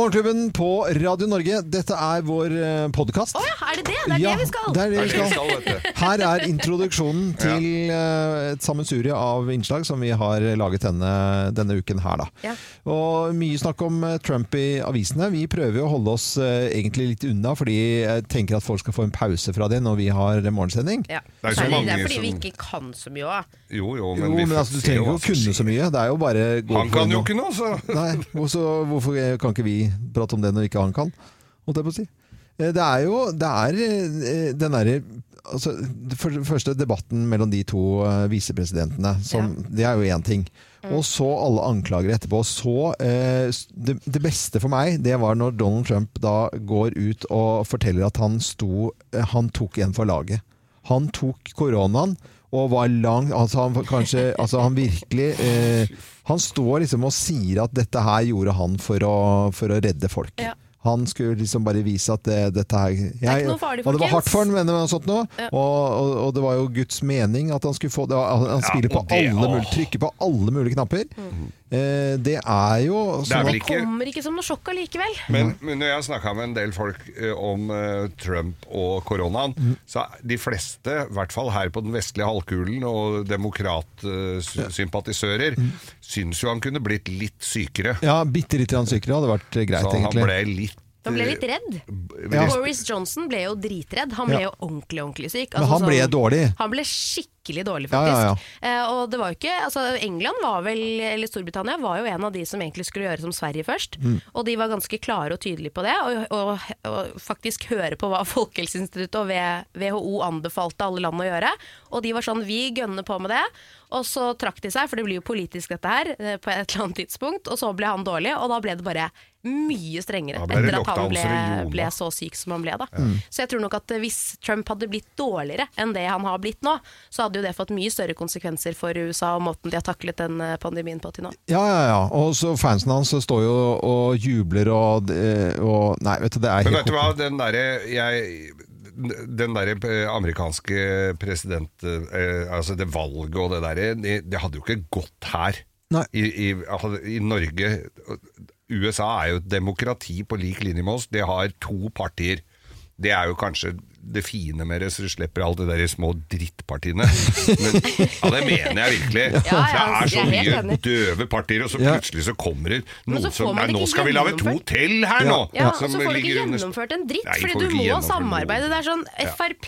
Morgenklubben på Radio Norge, dette er vår podkast. Å ja, er det det? Det er Ja, det vi skal. det er det vi Det er det vi skal, vet du. Her er introduksjonen til eh, et sammensurie av innslag som vi har laget denne, denne uken her. Da. Ja. Og mye snakk om eh, Trump i avisene. Vi prøver jo å holde oss eh, egentlig litt unna, fordi jeg tenker at folk skal få en pause fra det når vi har eh, morgensending. Ja. Det er jo så Særlig, det er mange fordi vi som- ikke kan så mye òg. Jo, jo, Jo, men, vi men får altså, Du se trenger hva ikke å som kunne så skjer. mye. Det er jo bare gå Han for kan noe. jo ikke noe, så Nei, og så- hvorfor eh, kan ikke vi prate om det når ikke han kan? Holdt jeg på å si. Eh, Det er jo det er, eh, den derre altså, det fyr- første debatten mellom de to eh, visepresidentene, som, det er jo én ting. Mm. Og så alle anklager etterpå. Så eh, s- det, det beste for meg, det var når Donald Trump da går ut og forteller at han sto eh, Han tok en for laget. Han tok koronaen og var lang Altså han kanskje Altså han virkelig eh, Han står liksom og sier at dette her gjorde han for å, for å redde folk. Ja. Han skulle liksom bare vise at det, dette her jeg, Det ikke noe farlig, Og det var folkens. hardt for han, mener han sånt nå. Og, og, og det var jo Guds mening at han skulle få det. var- Han, han Ja, spiller på og det- alle åh. mulige Trykker på alle mulige knapper. Mm. Eh, det er jo Det er sånn vel at ikke Kommer ikke som noe sjokk allikevel. Men, men når jeg har snakka med en del folk eh, om eh, Trump og koronaen, Mm. så er de fleste, i hvert fall her på den vestlige halvkulen og demokratsympatisører, Mm. syns jo han kunne blitt litt sykere. ja, bitte lite grann sykere hadde vært eh, greit, Så han egentlig. ble litt Han ble eh, litt redd. b- Ja. Boris Johnson ble jo dritredd. Han ble Ja. jo ordentlig, ordentlig syk. Altså sånn- Men han ble dårlig. Han ble skikkelig dårlig, Ja, faktisk. ja, Eh, og det var jo ikke Altså, England var vel, eller Storbritannia var jo en av de som egentlig skulle gjøre som Sverige først. Mm. Og de var ganske klare og tydelige på det, og, og, og faktisk høre på hva Folkehelseinstituttet og V- WHO anbefalte alle land å gjøre. Og de var sånn Vi gønner på med det. Og så trakk de seg, for det blir jo politisk dette her, eh, på et eller annet tidspunkt. Og så ble han dårlig, og da ble det bare mye strengere Da ble det etter at han lockdowns ble, i Jona. ble så syk som han ble da. Så jeg tror nok at eh, hvis Trump hadde blitt dårligere enn det han har blitt nå, så hadde jo det fått mye større konsekvenser for USA og måten de har taklet den eh, pandemien på til nå. Ja, ja, ja. Og så fansen hans står jo og jubler og, eh, og Nei, vet du, det er Men helt vet du hva, den derre jeg- den der eh, amerikanske president... eh, Altså det valget og det derre, det, det hadde jo ikke gått her Nei. I, i, altså, i Norge. USA er jo et demokrati på lik linje med oss. Det har to partier. Det er jo kanskje det fine med det, så du slipper alle de der små drittpartiene. Men, ja, det mener jeg virkelig. Ja, ja, det er så jeg er helt mye enig. døve partier, og så Ja. plutselig så kommer det Men noen så får som man Nei, det nå ikke skal vi lage to gjennomført. til her nå! Ja, og som så får du ikke ligger under- gjennomført en dritt, Nei, de får fordi du ikke må gjennomført samarbeide. noe. Det er sånn Ja. Frp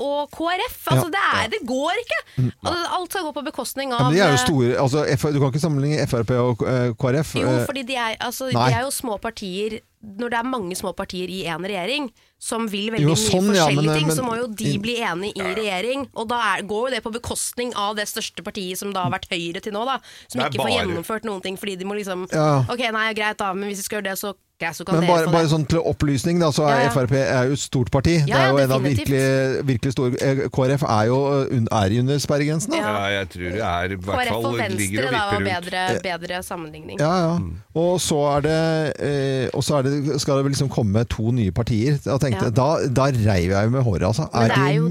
og KrF, altså Ja. det, er, det går ikke! Mm, Al- Alt skal gå på bekostning Ja, men av de er jo eh, store altså, F, Du kan ikke sammenligne Frp og eh, KrF. Jo, eh, fordi de er, altså, Nei. de er jo små partier Når det er mange små partier i en regjering som vil veldig Jo, mye sånn, forskjellige ja, men- ting, men- så må jo de bli enige i regjering. Og da er, går jo det på bekostning av det største partiet som da har vært Høyre til nå, da. Som Det er ikke får bare- gjennomført noen ting fordi de må liksom Ja. Ok, nei, greit da, men hvis vi skal gjøre det, så, ok, så kan men dere bare, få bare det. sånn til opplysning, da, så er Ja, ja. Frp er jo et stort parti. det ja, er jo en av definitivt. virkelig, virkelig store eh, KrF er jo eh, un- er i under sperregrensen, da. Ja. Ja, jeg tror det er i hvert KrF fall og ligger Venstre og da var vipper rundt. bedre, bedre sammenligning. Ja, ja. Og så, er det, eh, og så er det, skal det vel liksom komme to nye partier. Jeg tenkte, Ja. da, da reiv jeg med håret, altså. Men Er det er det jo-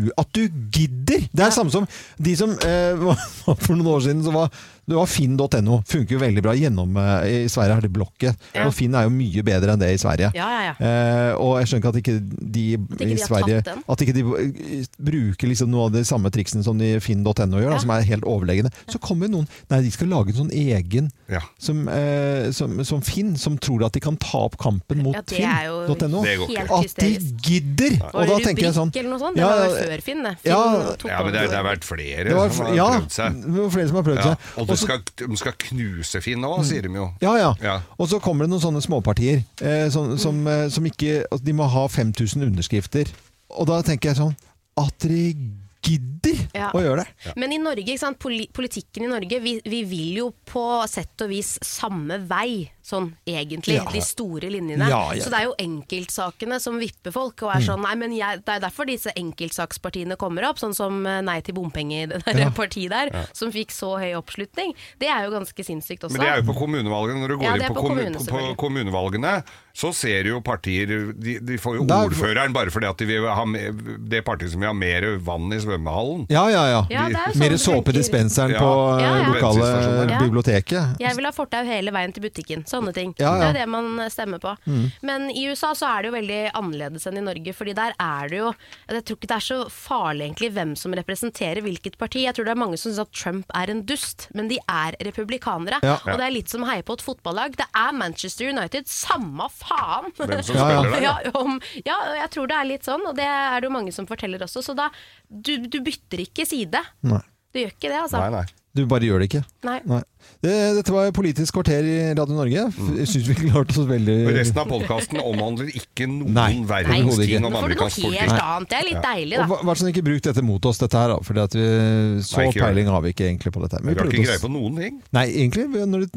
mu... At du gidder! Det er samme som de som eh, For noen år siden så var det var finn.no. Funker jo veldig bra. Gjennom, eh, I Sverige har de blokket. Ja. Og Finn er jo mye bedre enn det i Sverige. Ja, ja, ja. Eh, og jeg skjønner ikke at ikke de ikke de i har Sverige tatt den. At ikke de eh, bruker liksom noe av de samme triksene som de i finn.no gjør, da, som er helt overlegne. Så kommer noen Nei, de skal lage en sånn egen Ja. som, eh, som, som Finn, som tror at de kan ta opp kampen mot Ja, det er jo Finn.no. Det går ikke. helt At de hysterisk. gidder! Var Og da det tenker jeg sånn rubrikk eller noe sånt? Det ja, var jo før Finn, det. Finn ja, tok Ja, men det, over. det har vært flere det var, som har ja, prøvd seg. det var flere som har prøvd Ja, seg. og Og de så- skal, de skal knuse Finn nå, sier de jo. Ja, ja. Ja. Og så kommer det noen sånne småpartier eh, som, som, eh, som ikke altså, De må ha 5000 underskrifter. Og da tenker jeg sånn At dere gidder Ja. å gjøre det! Men i Norge, ikke sant? Poli politikken i Norge, vi, vi vil jo på sett og vis samme vei, sånn egentlig. Ja. De store linjene. Ja, ja. Mm. Så det er jo enkeltsakene som vipper folk, og er sånn Nei, men jeg, det er derfor disse enkeltsakspartiene kommer opp, sånn som eh, Nei til bompenger, det der Ja. partiet der, som fikk så høy oppslutning. Det er jo ganske sinnssykt også. Men det er jo på kommunevalgene. Når du går Ja, det er inn på, på kommu- kommune, på, selvfølgelig. kommunevalgene, så ser du jo partier De, de får jo Der- ordføreren bare fordi at de vil ha me- det partiet som vil ha mer vann i svømmehallen. Ja, ja, ja. Ja, det er jo sånn Mer det såpe i funker. dispenseren Ja. på eh, Ja, ja. lokale Bensinstasjoner. Ja. biblioteket. Jeg vil ha fortau hele veien til butikken. sånne ting. Ja, Mm. ja. Det er jo det man stemmer på. Men i USA så er det jo veldig annerledes enn i Norge, fordi der er det jo Jeg tror ikke det er så farlig egentlig hvem som representerer hvilket parti. Jeg tror det er mange som syns at Trump er en dust, men de er republikanere. Ja. Og det er litt som å heie på et fotballag. Det er Manchester United, samme faen! Hvem som Ja, ja. spiller der? Ja, om, ja, og jeg tror det er litt sånn, og det er det jo mange som forteller også. Så da, du, du bytter ikke side. Nei. Du gjør ikke det, altså. Nei, nei. Du bare gjør det ikke. Nei. Nei. Eh, Dette var Politisk kvarter i Radio Norge. Jeg syns vi klarte oss veldig Mm. Og Resten av podkasten omhandler ikke Nei, noen Nei, verdens overhodet ikke. ting Nå om får du noe amerikansk politikk. helt annet. Det er litt deilig, Og da. hva- Vær så snill, ikke bruk dette mot oss, dette her. da, Fordi at vi, så Nei, ikke gjør peiling har vi ikke egentlig på dette. her. Men Vi har ikke prøvde greie oss. på noen ting. Nei, egentlig. vi- Når det,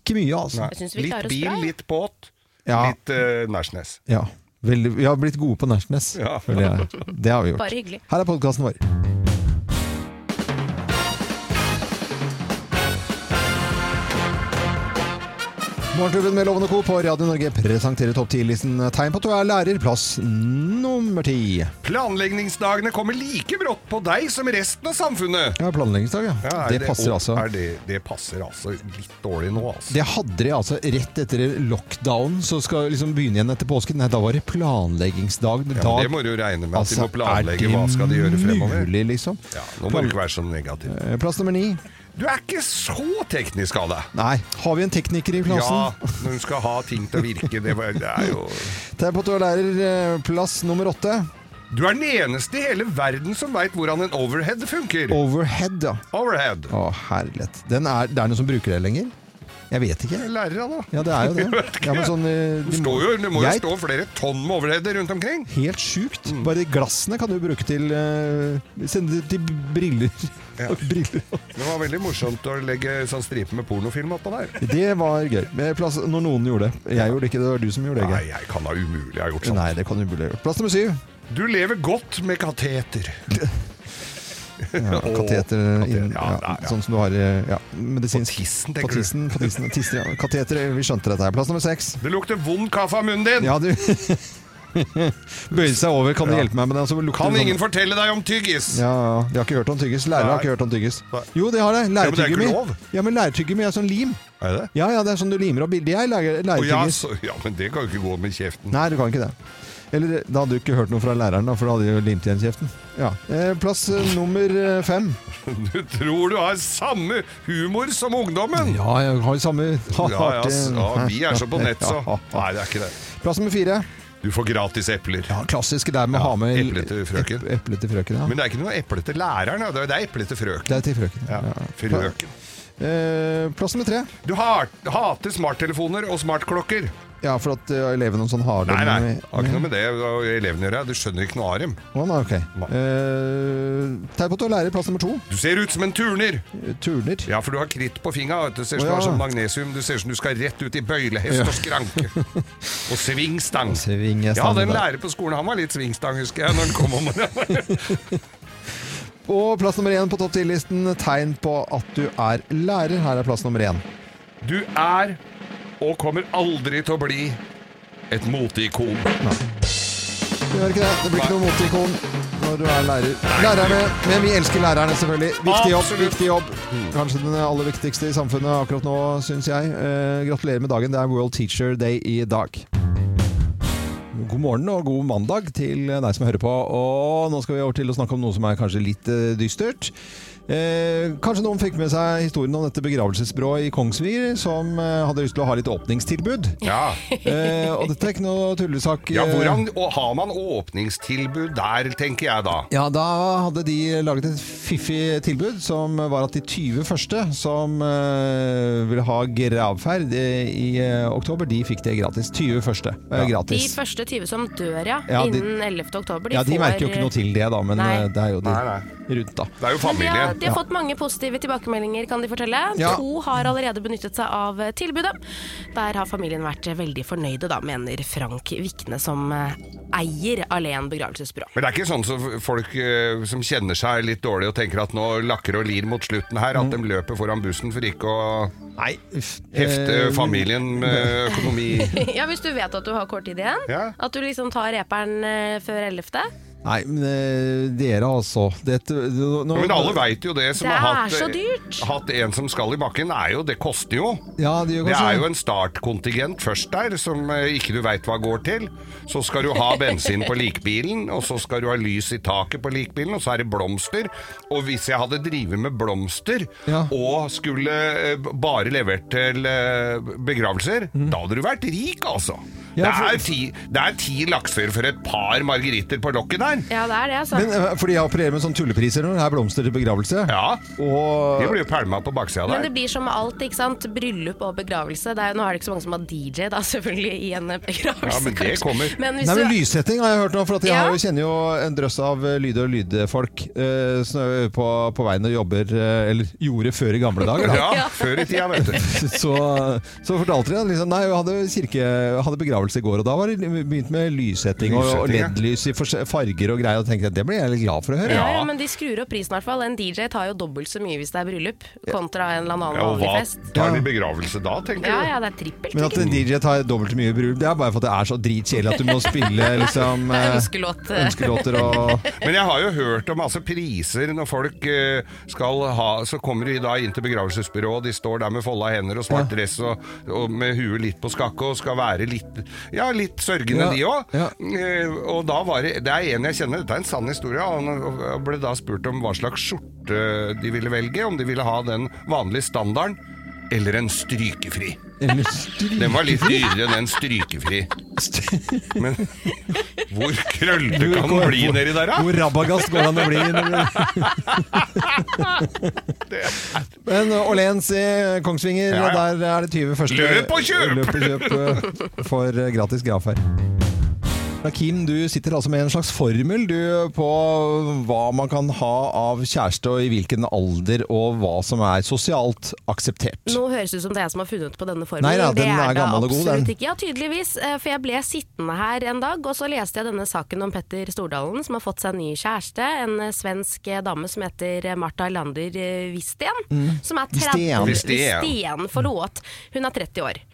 ikke mye, altså. Nei. Jeg synes vi klarer Litt oss bil, bra, ja. litt båt, Ja. litt uh, Nærsnes. Ja. Veldig, vi har blitt gode på Nashnes, Ja. føler jeg. Det har vi gjort. Bare hyggelig. Her er podkasten vår. Morgenklubben med Lovende Co. på Radio Norge presenterer topp 10-listen Tegn på at du er lærer, plass nummer ti. Planleggingsdagene kommer like brått på deg som resten av samfunnet. Ja, planleggingsdag, ja. Ja, er det, passer og altså. Er det, det passer altså litt dårlig nå, altså. Det hadde de altså rett etter lockdown, så skal liksom begynne igjen etter påsken. Nei, da var det planleggingsdag. Ja, Da- men det må du jo regne med, at altså, de må planlegge er det hva skal de gjøre fremover. Mulig, liksom. Ja, nå må du ikke være så negativ. Eh, Plass nummer ni. Du er ikke så teknisk av deg. Nei, har vi en tekniker i Ja, klassen? når du skal ha ting til å virke, det, var, det er jo Tegn på at du er lærer, eh, plass nummer åtte. Du er den eneste i hele verden som veit hvordan en overhead funker. Overhead, ja. Overhead. Å, herlighet. Den er, det er noen som bruker det lenger? Jeg vet ikke. Lærere, da. Ja, det er jo det. Ja, men sånn, eh, Du de står jo, det må jo Jeg- stå Mm. flere tonn med overheader rundt omkring. Helt sjukt. Bare glassene kan du bruke til eh, Sende det til briller. Ja. briller. Det var veldig morsomt å legge sånn stripe med pornofilm oppå der. Det var gøy. Men Plass, når noen gjorde det. Jeg gjorde det ikke, det var du som gjorde det. Nei, Geir. jeg kan da umulig ha gjort sånn. Nei, det kan du umulig ha gjort. Plass nummer syv. Du lever godt med kateter. Ja, Åh, kateter eh, inn, ja, ja, nei, ja. Sånn som du har eh, ja, medisinsk På tissen, på tenker du? tissen, på tissen, tissen, ja. Kateter, eh, vi skjønte dette her. Plass nummer seks. Det lukter vond kaffe av munnen din. Ja, du Bøyde seg over. Kan du Ja. hjelpe meg med det? Og så lukter Kan det sånn- ingen fortelle deg om tyggis? Ja, ja. De har ikke hørt om tyggis. Lærere har Nei. ikke hørt om tyggis. Nei. Jo, de har det. men det er ikke Lærertyggegummi. lov. Ja, men lærertyggegummi er sånn lim. Er det? Ja, ja, det er sånn du limer opp bildet. Jeg lager Å, ja, lærertyggis. så, ja, men det kan jo ikke gå med kjeften. Nei, du kan ikke det. Eller da hadde du ikke hørt noe fra læreren, da, for da hadde de jo limt igjen kjeften. Ja. Eh, plass eh, nummer eh, fem. Du tror du har samme humor som ungdommen? Ja, jeg har samme Ja, ja, s- artig- ja, vi er så på nett, så. Ja. Nei, det er ikke det. Plass nummer fire. Du får gratis epler. Ja, klassisk der med å Ja, ha med eple til frøken. ep- Eple til frøken, ja. Men det er ikke noe eple til læreren, ja. det er- det er eple til frøken. Det er til frøken. Ja, frøken. Eh, plass nummer tre. Du har, hater smarttelefoner og smartklokker. Ja, for at eh, elevene og sånn har Nei, dem nei, med- det har ikke noe med det og elevene gjør. Du skjønner ikke noe av dem. Å, nei, ok. Nei. Eh, Tegn på at du er lærer, plass nummer to. Du ser ut som en turner! Turner. Ja, for du har kritt på fingra. Du ser ut Å, som du ja. har sånn magnesium. Du ser ut som du skal rett ut i bøylehest og skranke. Og svingstang. Svingestang, Jeg hadde en da. lærer på skolen, han var litt svingstang, husker jeg, når han kom om morgenen. Og plass nummer én på topp 10-listen. Tegn på at du er lærer. Her er plass nummer én. Du er, og kommer aldri til å bli, et moteikon. Du gjør ikke det. Det blir ikke noe moteikon når du er lærer. Nei. Lærerne, men vi elsker lærerne, selvfølgelig. Viktig jobb, Absolutt. viktig jobb. Kanskje den aller viktigste i samfunnet akkurat nå, syns jeg. Eh, gratulerer med dagen. Det er World Teacher Day i dag. God morgen og god mandag til deg som hører på. Og nå skal vi over til å snakke om noe som er kanskje litt eh, dystert. Eh, kanskje noen fikk med seg historien om dette begravelsesbyrået i Kongsvinger som eh, hadde lyst til å ha litt åpningstilbud. Ja. Eh, og dette er ikke noe tullesak. ja, eh, hvordan og har man åpningstilbud der, tenker jeg da. Ja, da hadde de laget et fiffig tilbud, som var at de 20 første som eh, ville ha gravferd eh, i eh, oktober, de fikk det gratis. 20 første eh, Ja. De gratis. første 20 som dør, ja, Ja, de- innen 11. oktober, de ja, de får merker jo ikke noe til det, da, men Nei. eh, det er jo de Nei, rundt, da. Det er Men de har, jo familie. de har fått mange positive tilbakemeldinger, kan de fortelle. Ja. To har allerede benyttet seg av eh, tilbudet. Der har familien vært eh, veldig fornøyde, da, mener Frank Vikne, som eh, eier Alen begravelsesbyrå. Men det er ikke sånn som folk eh, som kjenner seg litt dårlig og tenker at nå lakker og lir mot slutten her, Mm. at de løper foran bussen for ikke å Nei, uff. hefte Eh, familien med økonomi. Ja, Hvis du vet at du har kort tid igjen, Ja. at du liksom tar reperen eh, før 11., Nei, men eh, dere altså Dette, nå, nå- Men alle veit jo det som Det har er hatt, eh, så dyrt. hatt en som skal i bakken, er jo Det koster jo. Ja, det gjør Det kanskje er jo en startkontingent først der, som eh, ikke du veit hva går til. Så skal du ha bensin på likbilen, og så skal du ha lys i taket på likbilen, og så er det blomster. Og hvis jeg hadde drevet med blomster, Ja. og skulle eh, bare levert til eh, begravelser, da hadde du vært rik, altså. Mm. Ja, det, for- er ti, det er ti lakser for et par margeritter på lokket der. Ja, det er det, altså. Men eh, fordi jeg opererer med sånne tullepriser nå, det er blomster til begravelse. Ja, de Og blir jo pælma på baksida Men det der. blir som med alt, ikke sant. Bryllup og begravelse. Det er, jo- nå er det ikke så mange som har DJ, da, selvfølgelig, i en begravelse. Ja, men det kanskje. kommer. Men hvis Nei, men du Lyssetting har jeg hørt nå, for at jeg Ja. har jo, kjenner jo en drøss av eh, lyd- og lydfolk eh, snø- på, på veien og jobber, eh, eller gjorde før i gamle dager. Da. Ja, før i tida, vet du. Så, så fortalte de at liksom, nei, jeg hadde, kirke, hadde begravelse i går, og da var det begynt med lyssetting og, og Lyssetting, ja. LED-lys i fors- farger og greier. Og tenkte jeg, det ble jeg litt glad for å høre. ja, Ja. ja, men de skrur opp prisen i hvert fall. En DJ tar jo dobbelt så mye hvis det er bryllup, kontra en eller annen Ja, og vanlig hva fest. tar de begravelse da, tenker Ja du? ja, det er trippelt. Men at en DJ tar dobbelt så mye bryllup, det er bare for at det er så dritkjedelig at du må spille liksom, eh, Ønskelåt. ønskelåter og Men jeg har jo hørt om masse priser når folk eh, skal ha Så kommer de da inn til begravelsesbyrået, og de står der med folda hender og svart dress og, og med huet litt på skakke og skal være litt Ja, litt sørgende, Ja, de òg. ja. Og da var det Det er en jeg kjenner, dette er en sann historie. Han ble da spurt om hva slags skjorte de ville velge, om de ville ha den vanlige standarden eller en strykefri. Eller stry- Den var litt dyrere enn en strykefri. stry- Men hvor krøllete kan den bli nedi der, da? Hvor rabagast går det an å bli? når du- Det er Men eh, Åhléns i Kongsvinger, Ja, ja. der er det 20 første Løp og kjøp! Løp og kjøp, eh, for eh, gratis gravferd. Kim, du sitter altså med en slags formel du, på hva man kan ha av kjæreste, og i hvilken alder, og hva som er sosialt akseptert. Nå høres det ut som det er jeg som har funnet på denne formelen. Nei da, det den er da gammel og god, den. absolutt ikke. Ja, tydeligvis. eh, For jeg ble sittende her en dag, og så leste jeg denne saken om Petter Stordalen, som har fått seg en ny kjæreste. En eh, svensk eh, dame som heter eh, Marta Lander eh, Wisten. Mm. Som er 30 Wisten. Wisten. Wisten, forlåt. Hun er 30 år.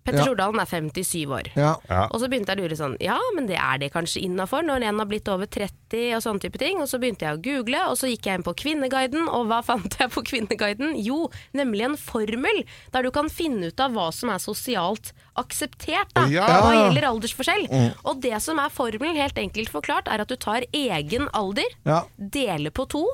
Petter Ja. Stordalen er 57 år. Ja. Ja. Og så begynte jeg å lure sånn, ja, men det er det kanskje innafor når en har blitt over 30 og sånne type ting. Og så begynte jeg å google, og så gikk jeg inn på Kvinneguiden, og hva fant jeg på Kvinneguiden? Jo, nemlig en formel der du kan finne ut av hva som er sosialt akseptert, da, Ja. Mm. hva gjelder aldersforskjell. Og det som er formelen, helt enkelt forklart, er at du tar egen alder, Ja. deler på to,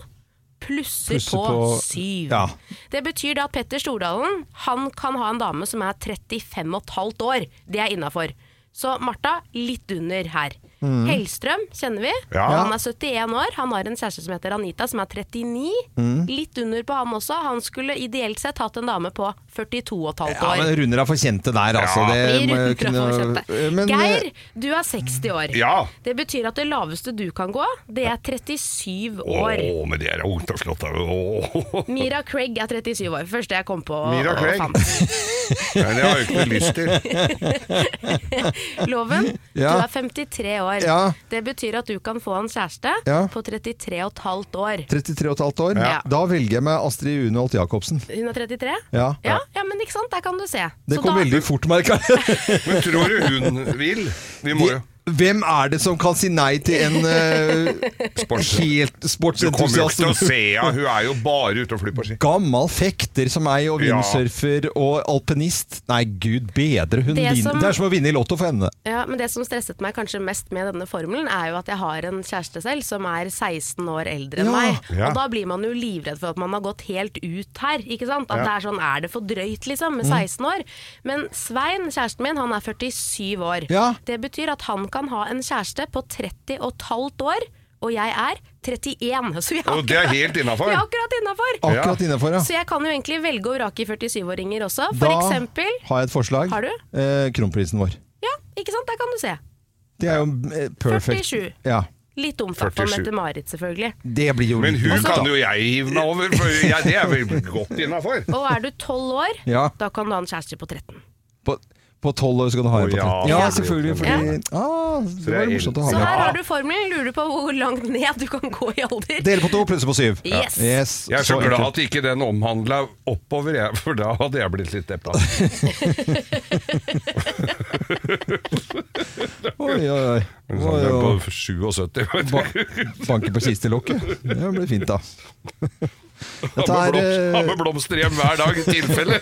plusser, Plusser på, på- syv. Ja. Det betyr da at Petter Stordalen han kan ha en dame som er 35,5 år. Det er innafor. Så Martha litt under her. Mm. Hellstrøm kjenner vi. Ja. Han er 71 år. Han har en kjæreste som heter Anita, som er 39. Mm. Litt under på han også. Han skulle ideelt sett hatt en dame på 42,5 Ja, år. men runder av for kjente der, altså. Ja. Det Vi må jeg runder av for kjente. kunne- eh, Men, Geir, du er 60 år. Ja. Det betyr at det laveste du kan gå, det er 37 år. Å, men det er ungt og flott. da. Å. Mira Craig er 37 år. Første jeg kom på. og- Mira og Craig. fant. Nei, det har jeg ikke noe lyst til. Loven, Ja. du er 53 år. Ja. Det betyr at du kan få en kjæreste Ja. på 33,5 år. 33,5 år. Ja. Da velger jeg meg Astrid Unholt Jacobsen. Hun er 33? Ja. ja, ja, men ikke sant, der kan du se. Det Så kom da- veldig fort, merka jeg. Men tror du hun vil? Vi må jo Hvem er det som kan si nei til en eh, sports... helt Du kommer jo ikke sportsentusiast? til å se henne, hun er jo bare ute og flyr på ski. Gammel fekter som meg, og Ja. windsurfer og alpinist. Nei, gud bedre, hun Det vinner. som- Det er som å vinne i Lotto for henne. Ja, men Det som stresset meg kanskje mest med denne formelen, er jo at jeg har en kjæreste selv som er 16 år eldre Ja. enn meg. Ja. Og da blir man jo livredd for at man har gått helt ut her. ikke sant? At Ja. det er sånn, er det for drøyt liksom, Mm. med 16 år? Men Svein, kjæresten min, han er 47 år. Ja. Det betyr at han kan ha en kjæreste på 30 og et halvt år, og jeg er 31. Så vi er Og det akkurat, er helt innafor. vi er akkurat innafor! Akkurat innafor, ja. Så jeg kan jo egentlig velge og vrake i 47-åringer også. For Da eksempel har jeg et forslag. Har du? Eh, kronprisen vår. Ja, ikke sant? Der kan du se. Det er jo eh, perfect. 47. Ja. Litt omfattende 47. Mette-Marit, selvfølgelig. Det blir jo Men litt hun masse, kan da. jo jeg hive meg over, for jeg, det er vel godt innafor. Og er du tolv år, Ja. da kan du ha en kjæreste på 13. På, På tolv år så kan du ha en Å, på ja, 13. Ja, ja. selvfølgelig. Fordi, ah, det det var er morsomt å Så ha med. her har du formelen. Lurer på hvor langt ned du kan gå i alder. Dele på to, plusse på syv. Yes. Yes, Jeg er så glad enkelt. at ikke den omhandla oppover, jeg, for da hadde jeg blitt litt deppa. Oi, oi, oi. Men oi, Sånn, den oi. på 77. vet du. Ba- Banke på siste lokket. Det blir fint, da. Dette Ha er, med blomst- ha eh, med blomster hjem hver dag, i tilfelle.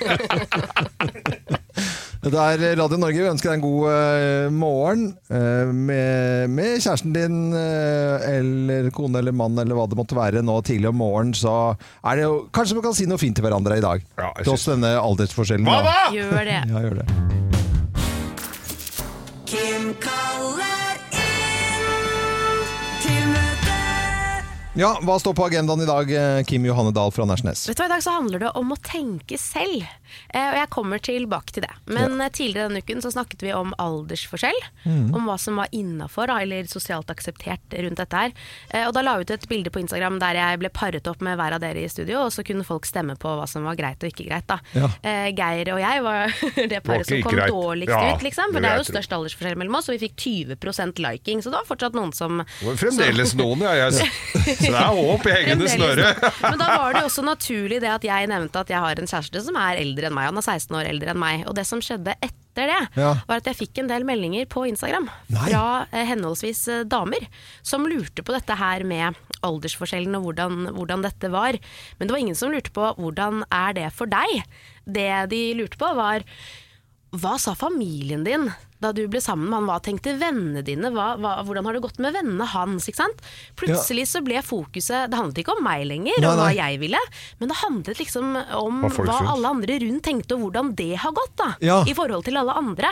dette er Radio Norge. Vi ønsker deg en god eh, morgen eh, med, med kjæresten din eh, eller kone eller mann eller hva det måtte være nå tidlig om morgenen. Så er det jo Kanskje vi kan si noe fint til hverandre i dag. Ja, jeg Til oss denne aldersforskjellen. Hva da?! Gjør det. Ja, gjør det. Kim kaller inn til møte. Ja, hva står på agendaen i dag, eh, Kim Johanne Dahl fra Nærsnes? Vet du hva, I dag så handler det om å tenke selv, eh, og jeg kommer tilbake til det. Men eh, tidligere denne uken så snakket vi om aldersforskjell, Mm. om hva som var innafor eller sosialt akseptert rundt dette her. Eh, og da la jeg ut et bilde på Instagram der jeg ble paret opp med hver av dere i studio, og så kunne folk stemme på hva som var greit og ikke greit. da. Ja. Eh, Geir og jeg var det Var paret ikke som kom greit. dårligst Ja, ut, liksom. det For det er vil jo jeg størst aldersforskjell mellom oss, og vi fikk 20 liking, så det var fortsatt noen som Det var Fremdeles noen, ja. Jeg, så det er håp i hengende snøre. Fremdeles. Men da var det jo også naturlig det at jeg nevnte at jeg har en kjæreste som er eldre enn meg. Han er 16 år eldre enn meg. Og det som skjedde etter det, Ja. var at jeg fikk en del meldinger på Instagram Nei. fra eh, henholdsvis eh, damer som lurte på dette her med aldersforskjellen og hvordan, hvordan dette var. Men det var ingen som lurte på hvordan er det for deg? Det de lurte på var hva sa familien din da du ble sammen med han? Hva tenkte vennene dine? Hva, hva, hvordan har det gått med vennene hans? Ikke sant? Plutselig så ble fokuset Det handlet ikke om meg lenger, Nei, og hva nei. jeg ville, men det handlet liksom om Hva folk hva syns. alle andre rundt tenkte, og hvordan det har gått da, Ja. i forhold til alle andre.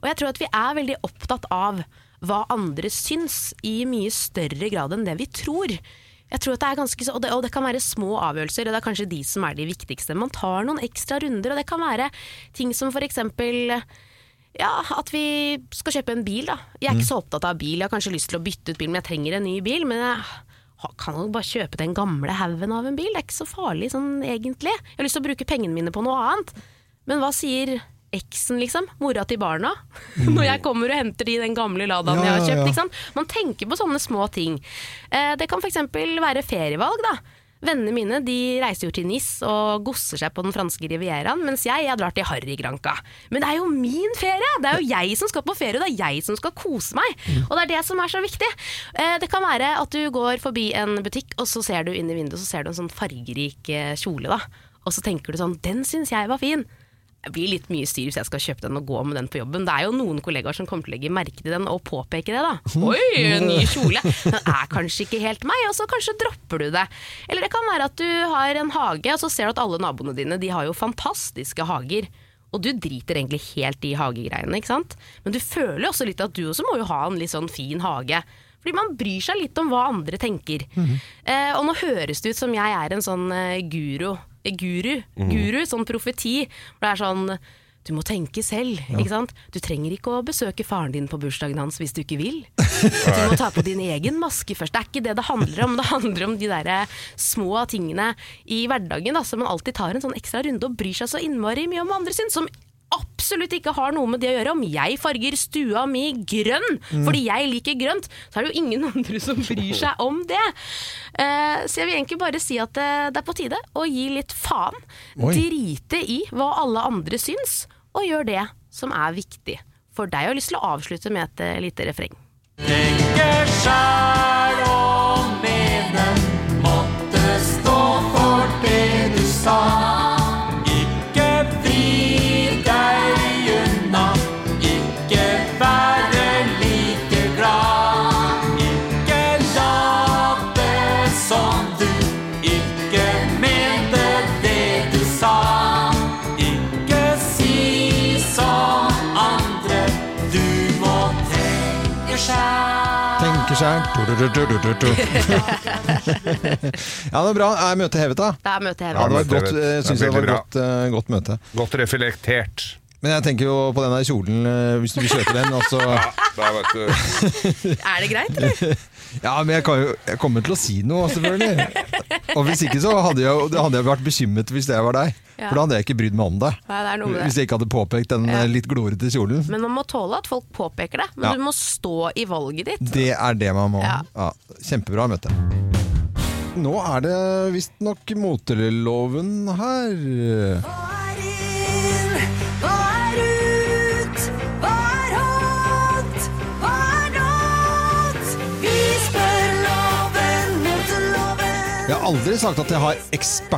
Og jeg tror at vi er veldig opptatt av hva andre syns, i mye større grad enn det vi tror. Jeg tror at det er ganske, så- og, det, og det kan være små avgjørelser, og det er kanskje de som er de viktigste. Man tar noen ekstra runder, og det kan være ting som for eksempel ja, at vi skal kjøpe en bil, da. Jeg Mm. er ikke så opptatt av bil, jeg har kanskje lyst til å bytte ut bil, men jeg trenger en ny bil. Men jeg ha- kan jo bare kjøpe den gamle haugen av en bil, det er ikke så farlig sånn egentlig. Jeg har lyst til å bruke pengene mine på noe annet. Men hva sier eksen, liksom? Mora til barna? Når jeg kommer og henter de i den gamle Ladaen Mm. Ja, jeg har ja, ja. kjøpt, ikke sant? sant? Man tenker på sånne små ting. Eh, Det kan f.eks. være ferievalg. da. Vennene mine de reiser jo til Nis og gosser seg på den franske rivieraen, mens jeg, jeg drar til Harrygranka. Men det er jo min ferie! Det er jo jeg som skal på ferie, og det er jeg som skal kose meg. Og det er det som er så viktig. Eh, Det kan være at du går forbi en butikk, og så ser du inn i vinduet så ser du en sånn fargerik eh, kjole. da. Og så tenker du sånn Den syns jeg var fin! Det blir litt mye styr hvis jeg skal kjøpe den og gå med den på jobben. Det er jo noen kollegaer som kommer til å legge merke til den og påpeke det, da. Oi, en ny kjole! Den er kanskje ikke helt meg, og så kanskje dropper du det. Eller det kan være at du har en hage, og så ser du at alle naboene dine de har jo fantastiske hager. Og du driter egentlig helt i hagegreiene, ikke sant? Men du føler jo også litt at du også må jo ha en litt sånn fin hage. Fordi man bryr seg litt om hva andre tenker. eh, og nå høres det ut som jeg er en sånn eh, guru, eh, guru, guru, sånn profeti. Hvor det er sånn du må tenke selv, ikke sant. Du trenger ikke å besøke faren din på bursdagen hans hvis du ikke vil. Du må ta på din egen maske først. Det er ikke det det handler om. Det handler om de der eh, små tingene i hverdagen da, som man alltid tar en sånn ekstra runde og bryr seg så innmari mye om hva andre syns. Som absolutt ikke har noe med det å gjøre. Om jeg farger stua mi grønn fordi jeg liker grønt, så er det jo ingen andre som bryr seg om det. Eh, så jeg vil egentlig bare si at eh, det er på tide å gi litt faen. Oi. Drite i hva alle andre syns, og gjør det som er viktig for deg. Jeg har lyst til å avslutte med et eh, lite refreng. Tenke sjæl og mene. Måtte stå for det du sa. Ikke vri deg unna. Ikke være like glad. Ikke late som du ikke mente det du sa. Ikke si som andre. Du må tenke sjæl. Tenker sjæl. Ja, det er bra. Er møtet hevet, da? Da er møtet Ja, hevet. det var et møtet godt, hevet. eh, synes jeg det var Veldig et godt, eh, godt møte. Godt reflektert. Men jeg tenker jo på den der kjolen, eh, hvis du vil kjøpe den. Altså, Ja, da vet du. Er det greit, eller? ja, men jeg, kan jo, jeg kommer til å si noe, selvfølgelig. Og hvis ikke så hadde jeg, da hadde jeg vært bekymret hvis jeg var deg. Ja. For da hadde jeg ikke brydd meg om deg. Nei, det er noe med det. Hvis jeg ikke hadde påpekt den eh, litt glorete kjolen. Men man må tåle at folk påpeker det. Men Ja. du må stå i valget ditt. Det er det man må. Ja. Ja. kjempebra møte. Nå er det visstnok moteloven her. Hva er inn? Hva er ut? Hva er hot? Hva er not? Vi spør loven mot loven. Jeg har aldri sagt at jeg har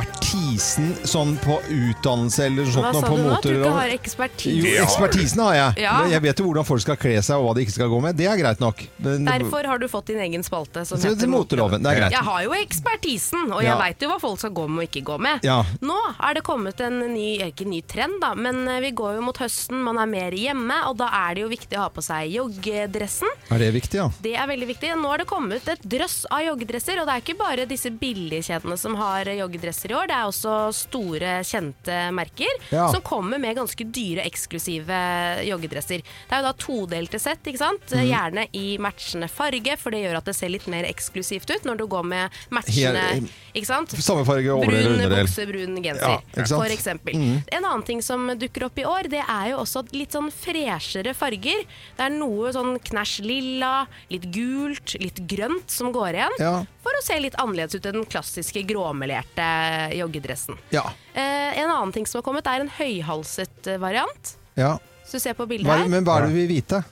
ekspertisen sånn på utdannelse eller sånt. Hva noe sa på du nå? At du ikke motorlov. har Jo, ekspertise? Ja. ekspertisen har jeg. Ja. Jeg vet jo hvordan folk skal kle seg og hva de ikke skal gå med. Det er greit nok. Men, Derfor har du fått din egen spalte som Så det heter er moteloven. Det er greit. Jeg har jo ekspertisen, og jeg Ja. vet veit jo hva folk skal gå med og ikke gå med. Ja. Nå er det kommet en ny, eh, ikke ny trend, da, men eh, vi går jo mot høsten, man er mer hjemme, og da er det jo viktig å ha på seg joggedressen. Er det viktig, ja? Det er veldig viktig. Nå har det kommet et drøss av joggedresser, og det er ikke bare disse billige kjedene som har joggedresser i år, det er også store, kjente merker Ja. som kommer med ganske dyre, eksklusive joggedresser. Det er jo da todelte sett, ikke sant? Mhm. Gjerne i matchende farge, for det gjør at det ser litt mer eksklusivt ut når du går med matchende, Helt- ikke sant? Samme farge over eller Brun underdel. bukse, brun Ja, genser, ikke sant? for eksempel. Mm. En annen ting som dukker opp i år, det er jo også litt sånn freshere farger. Det er noe sånn knæsj lilla, litt gult, litt grønt som går igjen. Ja. For å se litt annerledes ut enn den klassiske gråmelerte joggedressen. Ja. Eh, en annen ting som har kommet, er en høyhalset eh, variant. ja. Så du ser på bildet Hva, her. men hva er det du vil vite?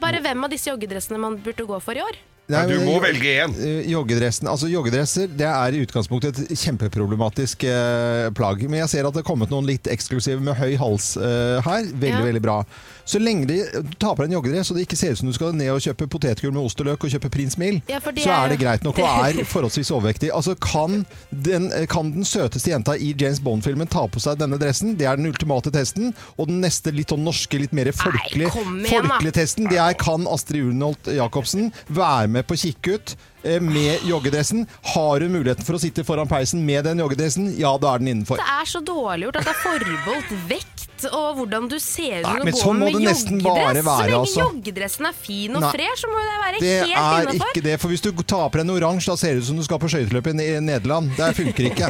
Bare hvem av disse joggedressene man burde gå for i år? Det er- Nei, du må velge én. Eh, Joggedressen, altså joggedresser det er i utgangspunktet et kjempeproblematisk eh, plagg. Men jeg ser at det er kommet noen litt eksklusive med høy hals eh, her. Veldig, Ja. veldig bra. Så lenge de, du tar på deg en joggedress og det ikke ser ut som du skal ned og kjøpe potetgull med ost og løk og kjøpe Prins Mil, Ja, for det så er- er det greit nok og er forholdsvis overvektig. Altså, kan den, eh, kan den søteste jenta i James Bond-filmen ta på seg denne dressen? Det er den ultimate testen. Og den neste litt sånn norske, litt mer folkelige kom igjen, da. folkelige testen det er kan Astrid Ulenholt Jacobsen være med på kikkut eh, med joggedressen. Har hun muligheten for å sitte foran peisen med den joggedressen? Ja, da er den innenfor. Det er så dårlig gjort at det er forbeholdt vekt og hvordan du ser ut Nei, når men du sånn går må med det joggedress. nesten bare så være, lenge altså. joggedressen er fin og Nei. fresh, så må det være Det helt er innafor. ikke det, for hvis du tar på deg en oransje, da ser det ut som du skal på skøyteløpet i Nederland. Det funker ikke.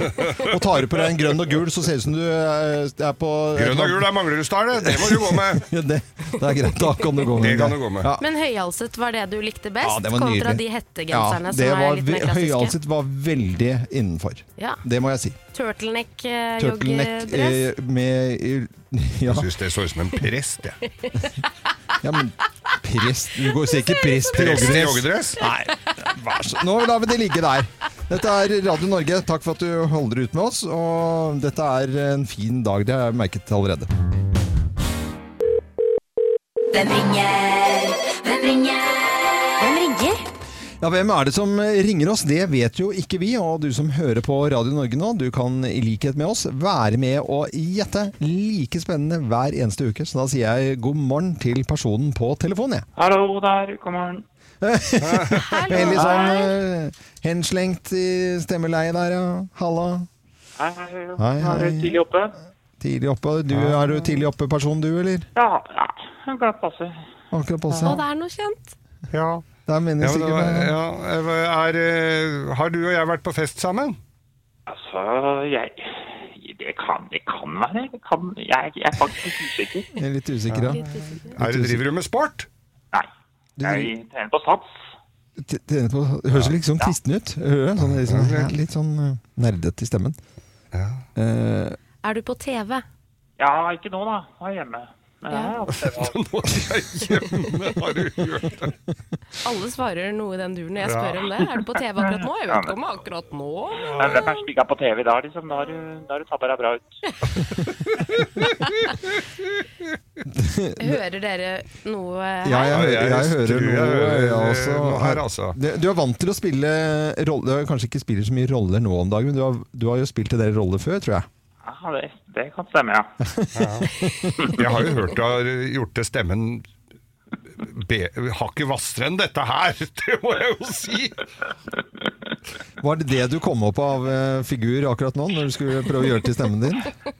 Og tar du på deg en grønn og gul, så ser det ut som du eh, er på Grønn og gul, der mangler du star, det. Det må du gå med. Ja, det, det er greit. Da kan du gå med Det kan det. du gå med. Ja. Men høyhalset var det du likte best, Ja, det var kontra nydelig. de hettegenserne det som var er litt mer ve- klassiske. Høyhalset var veldig innenfor. Ja. Det må jeg si. eh, Turtleneck Turtleneck-joggedress. eh, med ja, Jeg syns det så ut som en prest, jeg. ja, men prest Du går sier ikke prest i Prest i joggedress. joggedress? Nei, vær så Nå lar vi det ligge der. Dette er Radio Norge. Takk for at du holder ut med oss. Og dette er en fin dag. Det har jeg merket allerede. Hvem ringer? Hvem ringer? Hvem ringer? Ja, Hvem er det som ringer oss? Det vet jo ikke vi. Og du som hører på Radio Norge nå, du kan i likhet med oss være med og gjette. Like spennende hver eneste uke. Så da sier jeg god morgen til personen på telefonen, jeg. Hallo der, god morgen. Veldig sånn eh, henslengt i stemmeleiet der, ja. Halla. Hei, hei. Hei, Er du hei. tidlig oppe? Tidlig oppe. Du, er du tidlig oppe-person, du, eller? Ja, ja. Jeg kan passe. Akkurat passe. Å, det er noe kjent. Ja. Der mener jeg Ja, men det sikkert var, meg. ja, er, eh, har du og jeg vært på fest sammen? Altså, jeg... Det kan, det kan være. Det kan, jeg, jeg er faktisk usikker. Jeg er litt usikker, ja. Er det driver du med sport? Nei, jeg trener på sats. T- Trener på Høres litt sånn kristen ut. Hører du? Sånn, litt sånn, ja, litt sånn eh, nerdete i stemmen. Eh, Er du på TV? Ja, ikke nå da. Jeg er hjemme. Men altså, jeg er oppe. Nå er jeg hjemme, har du hørt det? Alle svarer noe i den duren. Jeg Ja. spør om det. Er du på TV akkurat nå? Jeg vet ikke om akkurat nå. Men hvem er spikket på TV da, liksom? Da har du, da har du tabba deg bra ut. Hører dere noe her? Ja, jeg, Ja, jeg, jeg hører tror noe jeg hører jeg også. noe her, altså. Det- Du er vant til å spille roller Du har kanskje ikke spiller så mye roller nå om dagen, men du har, du har jo spilt en del roller før, tror jeg. Ja, det, det kan stemme, ja. Jeg har jo hørt du har gjort til stemmen be, Har ikke hvassere enn dette her, det må jeg jo si! Var det det du kom opp av eh, figur akkurat nå, når du skulle prøve å gjøre til stemmen din?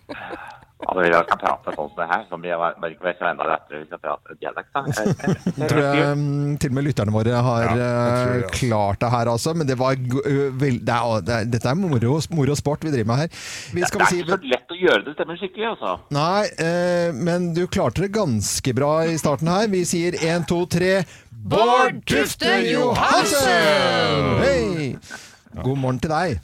når jeg kan prate sånn som det her, så blir jeg bare ikke så enda lettere hvis jeg prater dialekt. da. Jeg- jeg- Tror jeg mm, til og med lytterne våre har Ja, jeg tror det, eh, altså. klart det her, altså. Men det var go- ø, vel, det er, det er, Dette er moro, moro sport vi driver med her. Vi Det skal vel er si ikke så lett å gjøre det stemmer skikkelig, altså. Nei, eh, men du klarte det ganske bra i starten her. Vi sier én, to, tre Bård Tufte Johansen! Hei! God morgen til deg.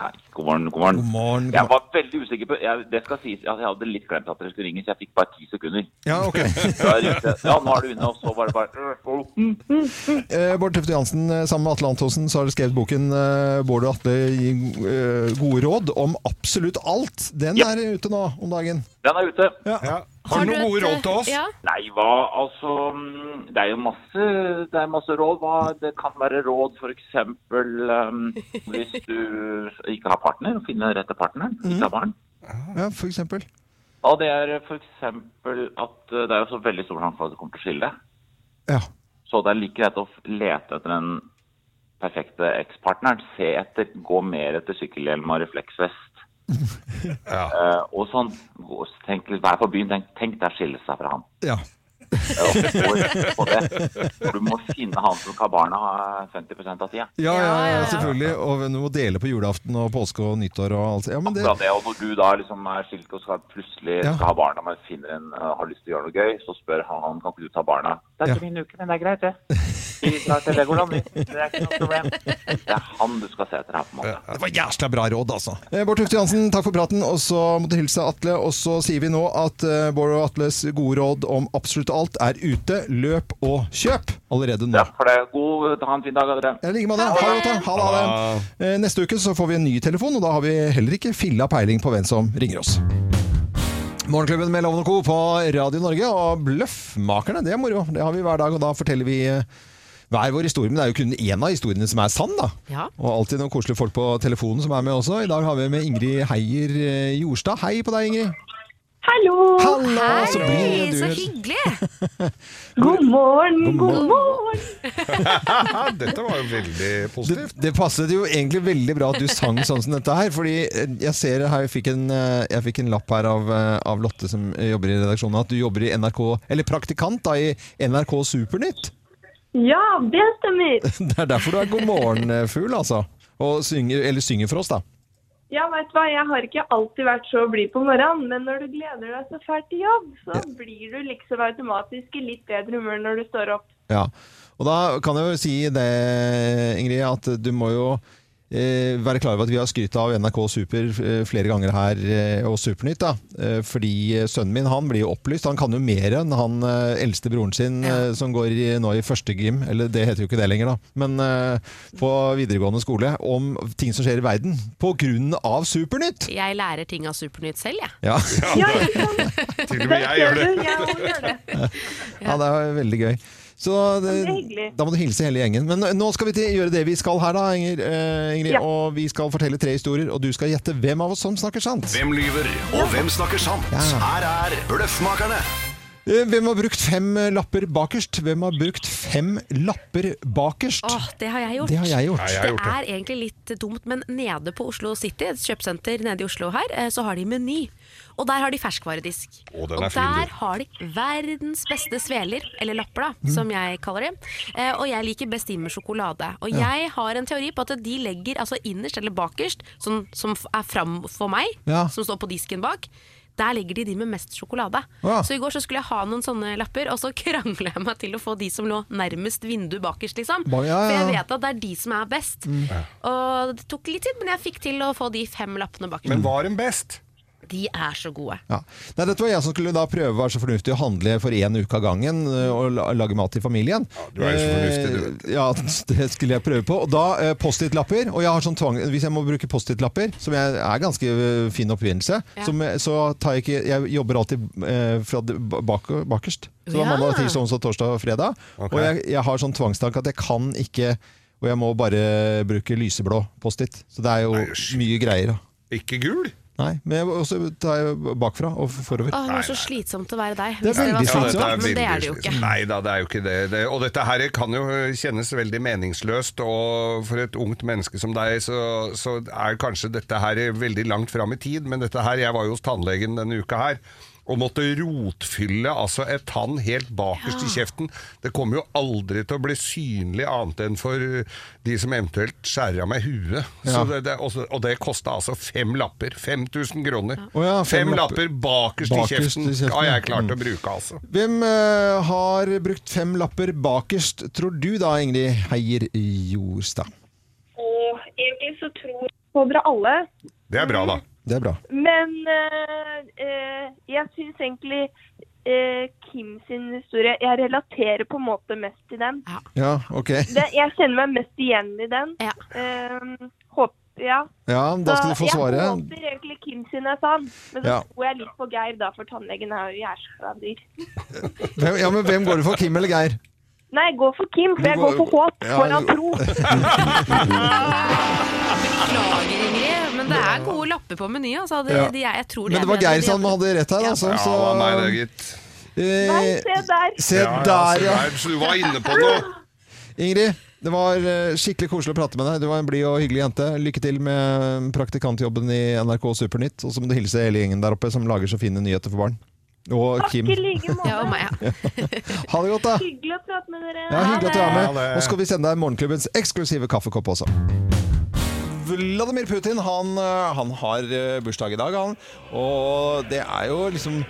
Nei, god morgen, god morgen. God morgen. Jeg var veldig usikker på jeg, Det skal sies at jeg hadde litt glemt at dere skulle ringe, så jeg fikk bare ti sekunder. Ja, ok. Da ringte jeg, Ja, nå er det unna, og så var det bare øh, og- mm. Eh, Bård Tufte Johansen eh, sammen med Atle Antonsen så har du skrevet boken eh, 'Bård og Atle gir eh, gode råd' om absolutt alt. Den Ja. er ute nå om dagen. Den er ute. Ja. Har du et, noen eh, gode råd til oss? Ja, Nei, hva altså mm, Det er jo masse, det er masse råd. Hva, det kan være råd f.eks. Um, hvis du ikke har partner, å finne den rette partneren. Ikke har barn. Ja, for eksempel. Og det er f.eks. at eh, det er jo så veldig stor sjanse for at du kommer til å skille deg. Ja. Så det er like greit å f- lete etter den perfekte ekspartneren. Se etter, gå mer etter sykkelhjelm og refleksvest. Ja. Eh, og sånn, gå- tenk, Vær på byen, tenk, tenk der skille seg fra han. ja. Ja, gå rett på det. For Du må finne han som skal ha barna eh, 50 av tida. Ja, ja, ja, ja, ja. selvfølgelig. Og du må dele på julaften og påske og nyttår og alt. Ja, men det, Akkurat det, og når du da liksom er skilt og skal plutselig Ja. skal ha barna, men finner en eh, har lyst til å gjøre noe gøy, så spør han han, kan ikke du ta barna. Det er ikke min uke, men det er greit, det. Vi drar til Legoland, vi. Det er ikke noe problem. Det er han du skal se etter her, på en måte. Ja, Det var jævla bra råd, altså. Eh, Bård Tufte Johansen, takk for praten. Og så må du hilse Atle. Og så sier vi nå at eh, Bård og Atles gode råd om absolutt alt er ute. Løp og kjøp allerede nå. Ja, for det er god, ha en fin dag, dere. Ja, I like måte. Ha det godt. da. Ha det, ha det. Eh, Neste uke så får vi en ny telefon, og da har vi heller ikke filla peiling på hvem som ringer oss. Morgenklubben med Loven og Co. på Radio Norge, og Bløffmakerne, det er moro. Det har vi hver dag, og da forteller vi eh, hver vår historie. Men det er jo kun én av historiene som er sann, da. Ja. Og alltid noen koselige folk på telefonen som er med også. I dag har vi med Ingrid Heier eh, Jorstad. Hei på deg, Ingrid. Hallo! Hallo! Hei, så blid Altså, du så er. hyggelig! God morgen, god morgen. morgen! Ja, dette var jo veldig Det, positivt. det passet jo egentlig veldig bra at du sang sånn som dette her. Fordi eh, jeg ser her, jeg fikk en, eh, jeg fikk en lapp her av, eh, av Lotte som eh, jobber i redaksjonen, at du jobber i NRK, eller praktikant da, i NRK Supernytt. Ja, det stemmer. Det er derfor du er God morgen-fugl, altså. Og synger, eller synger for oss, da. Ja, vet du hva, jeg har ikke alltid vært så blid på morgenen, men når du gleder deg så fælt til jobb, så blir du liksom automatisk i litt bedre humør når du står opp. Ja. Og da kan jeg jo si det, Ingrid, at du må jo eh, være klar over at vi har skrytt av NRK Super eh, flere ganger her, eh, og Supernytt, da. Eh, fordi eh, sønnen min han blir jo opplyst. Han kan jo mer enn han eh, eldste broren sin, eh, som går i, nå i første gym, eller det heter jo ikke det lenger, da, men eh, på videregående skole, om ting som skjer i verden på grunn av Supernytt! Jeg lærer ting av Supernytt selv, jeg. Ja. Ja, ikke sant? Til og Der med jeg ser gjør du, det. jeg også gjør det. Ja, det er veldig gøy. Så det, det er hyggelig. da må du hilse hele gjengen. Men eh, nå skal vi til, gjøre det vi skal her, da, Inger, eh, Ingrid. Ja. Og vi skal fortelle tre historier, og du skal gjette hvem av oss som snakker sant. Hvem lyver, og hvem snakker sant? Her er Bløffmakerne. Eh, Hvem har brukt fem eh, lapper bakerst? Hvem har brukt fem lapper bakerst? Åh, det har jeg gjort. Det har jeg gjort. Nei, jeg har gjort det det. er egentlig litt dumt, men nede på Oslo City, et kjøpesenter nede i Oslo her, eh, så har de Meny. Og der har de ferskvaredisk. Å, den er og fin, du. der har de verdens beste sveler, eller lapper da, Mm. som jeg kaller dem. Eh, Og jeg liker best de med sjokolade. Og jeg har en teori på at de legger altså innerst eller bakerst, som, som f- er fram for meg, Ja. som står på disken bak. Der legger de de med mest sjokolade. Ja. Så i går så skulle jeg ha noen sånne lapper, og så krangla jeg meg til å få de som lå nærmest vinduet bakerst, liksom. Ba- ja, ja, For jeg ja. vet at det er de som er best. Og det tok litt tid, men jeg fikk til å få de fem lappene bak. Men var den best? De er så gode. Ja. Nei, dette var jeg som skulle da prøve å være så fornuftig å handle for én uke av gangen eh, og la- lage mat til familien. du er jo så fornuftig, du vet. Eh, Ja, det skulle jeg prøve på. Og da eh, Post-It-lapper. Og jeg har sånn tvang, hvis jeg må bruke Post-It-lapper, som jeg er ganske eh, fin oppfinnelse, Ja. som, eh, så tar jeg ikke Jeg jobber alltid eh, fra det ba- bak, bakerst. Så det er Ja. mandag, tirsdag, onsdag, sånn torsdag og fredag. Ok. Og jeg, jeg har sånn tvangstanke at jeg kan ikke Og jeg må bare bruke lyseblå Post-It. Så det er jo Nei, det er sjukt. mye greier. da. Ikke gul? Nei, men jeg og så tar jeg eh, bakfra og forover. Åh, det Nei, er så nei. slitsomt å være Det deg. er Hvis var veldig sant, slitsomt. da, Men det er det jo ikke. Nei da, det er jo ikke det. det. Og dette her kan jo kjennes veldig meningsløst, og for et ungt menneske som deg, så, så er kanskje dette her veldig langt fram i tid, men dette her, jeg var jo hos tannlegen denne uka her, og måtte rotfylle altså et tann helt bakerst i kjeften. Det kommer jo aldri til å bli synlig annet enn for de som eventuelt skjærer av meg huet. Så Ja. det, det, og så- og det kosta altså fem lapper. 5000 kroner. Å ja, fem fem, lapper. lapper bakerst, Bakerst i i kjeften. kjeften, Ja, jeg ja. klarte å bruke, altså. Hvem eh, har brukt fem lapper bakerst, tror du da, Ingrid Heier Jorstad? Og egentlig så tror jeg på dere alle, Det er bra, da. Det er bra. men eh, eh, jeg syns egentlig eh, Kim sin historie Jeg relaterer på en måte mest til den. Ja, ok. Det, jeg kjenner meg mest igjen i den. Ja. Eh, håp, ja. Ja, da skal du få Så Jeg svaret. håper egentlig Kim sin er sann, men så Ja. tror jeg litt på Geir, da, for tannlegen er jo hjerneskader. Hvem, ja, men hvem går du for, Kim eller Geir? Nei, gå for Kim, Du for jeg går- går for håp Ja, foran du- tro. Beklager, Ingrid, men det er gode lapper på menyen. Altså. Det, Ja. de er, jeg tror de Men er det var bedre enn Geir de som andre. hadde rett her, Ja. altså. Ja, Så, hva meg det, gitt. Nei, eh, se der. se der, ja. så der- Så du var inne på noe. Ingrid, det var eh, skikkelig koselig å prate med deg. Du var en blid og hyggelig jente. Lykke til med eh, praktikantjobben i NRK Supernytt. Og så må du hilse hele gjengen der oppe som lager så fine nyheter for barn. Og Takk Kim. i like måte. Ja, og meg, ja. Ha det godt, da! Hyggelig å prate med dere. Ja, Hyggelig at du er Ha med. det. Og skal vi sende deg morgenklubbens eksklusive kaffekopp også. Vladimir Putin han, eh, han har eh, bursdag i dag, han. Og det er jo liksom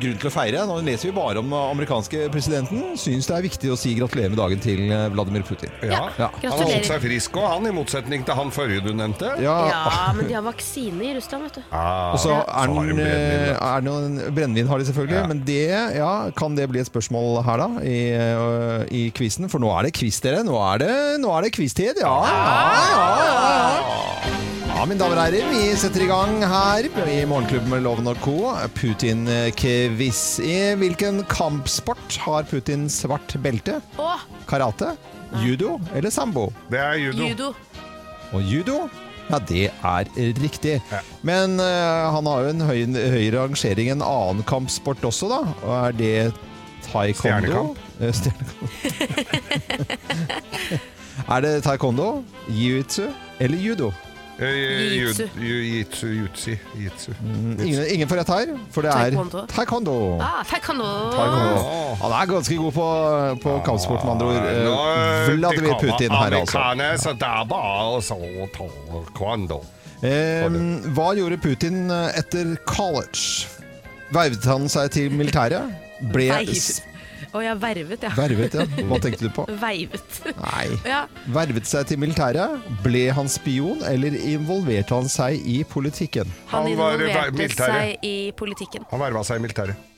grunn til å feire. Nå leser vi bare om den amerikanske presidenten. Syns det er viktig å si gratulerer med dagen til eh, Vladimir Putin. Ja. Ja. Han har holdt Gratulerer. seg frisk òg, han, i motsetning til han forrige du nevnte. Ja, Ja, Ah, men de har vaksine i Russland, vet du. Ah, og så er har hun den, brennevin, eh, da. er det noen Brennevin har de selvfølgelig, Ja. men det, ja, kan det bli et spørsmål her da, i, eh, i quizen? For nå er det quiz, dere. Nå er det, nå er det quiz-tid. Ja, ja, ja, ja. Ja, mine damer og herrer, vi setter i gang her i Morgenklubben med Loven og Co. Putin-quiz. I hvilken kampsport har Putin svart belte? Og Karate, judo eller sambo? Det er judo. judo. Og judo? Ja, det er riktig. Men eh, han har jo en høy, høyere rangering enn annen kampsport også, da. Og er det taekwondo? Stjernekamp. Eh, Stjernekamp. er det taekwondo, jiu-jitsu eller judo? Eh, ju- Jitsu. ju- Jitsu. Jutsi. Jitsu. Mm, Ingen, ingen får rett her, for det er Taekwondo. taekwondo. Ah, taekwondo. Åh. Han er ganske god på, på kampsport, med andre ord. Eh, Nå, eh, Vladimir det kommer Putin her, altså. Amerikaner, så det er bare å så ta kvando. Eh, hva gjorde Putin eh, etter college? Vervet han seg til militæret? Ble s- Veiv. Å, jeg vervet, ja. Vervet, ja. Hva tenkte du på? Veivet. Nei. Ja. Vervet seg til militæret? Ble han spion, eller involverte han seg i politikken? Han Han var vei- involverte militære. seg i politikken. Han verva seg i militæret.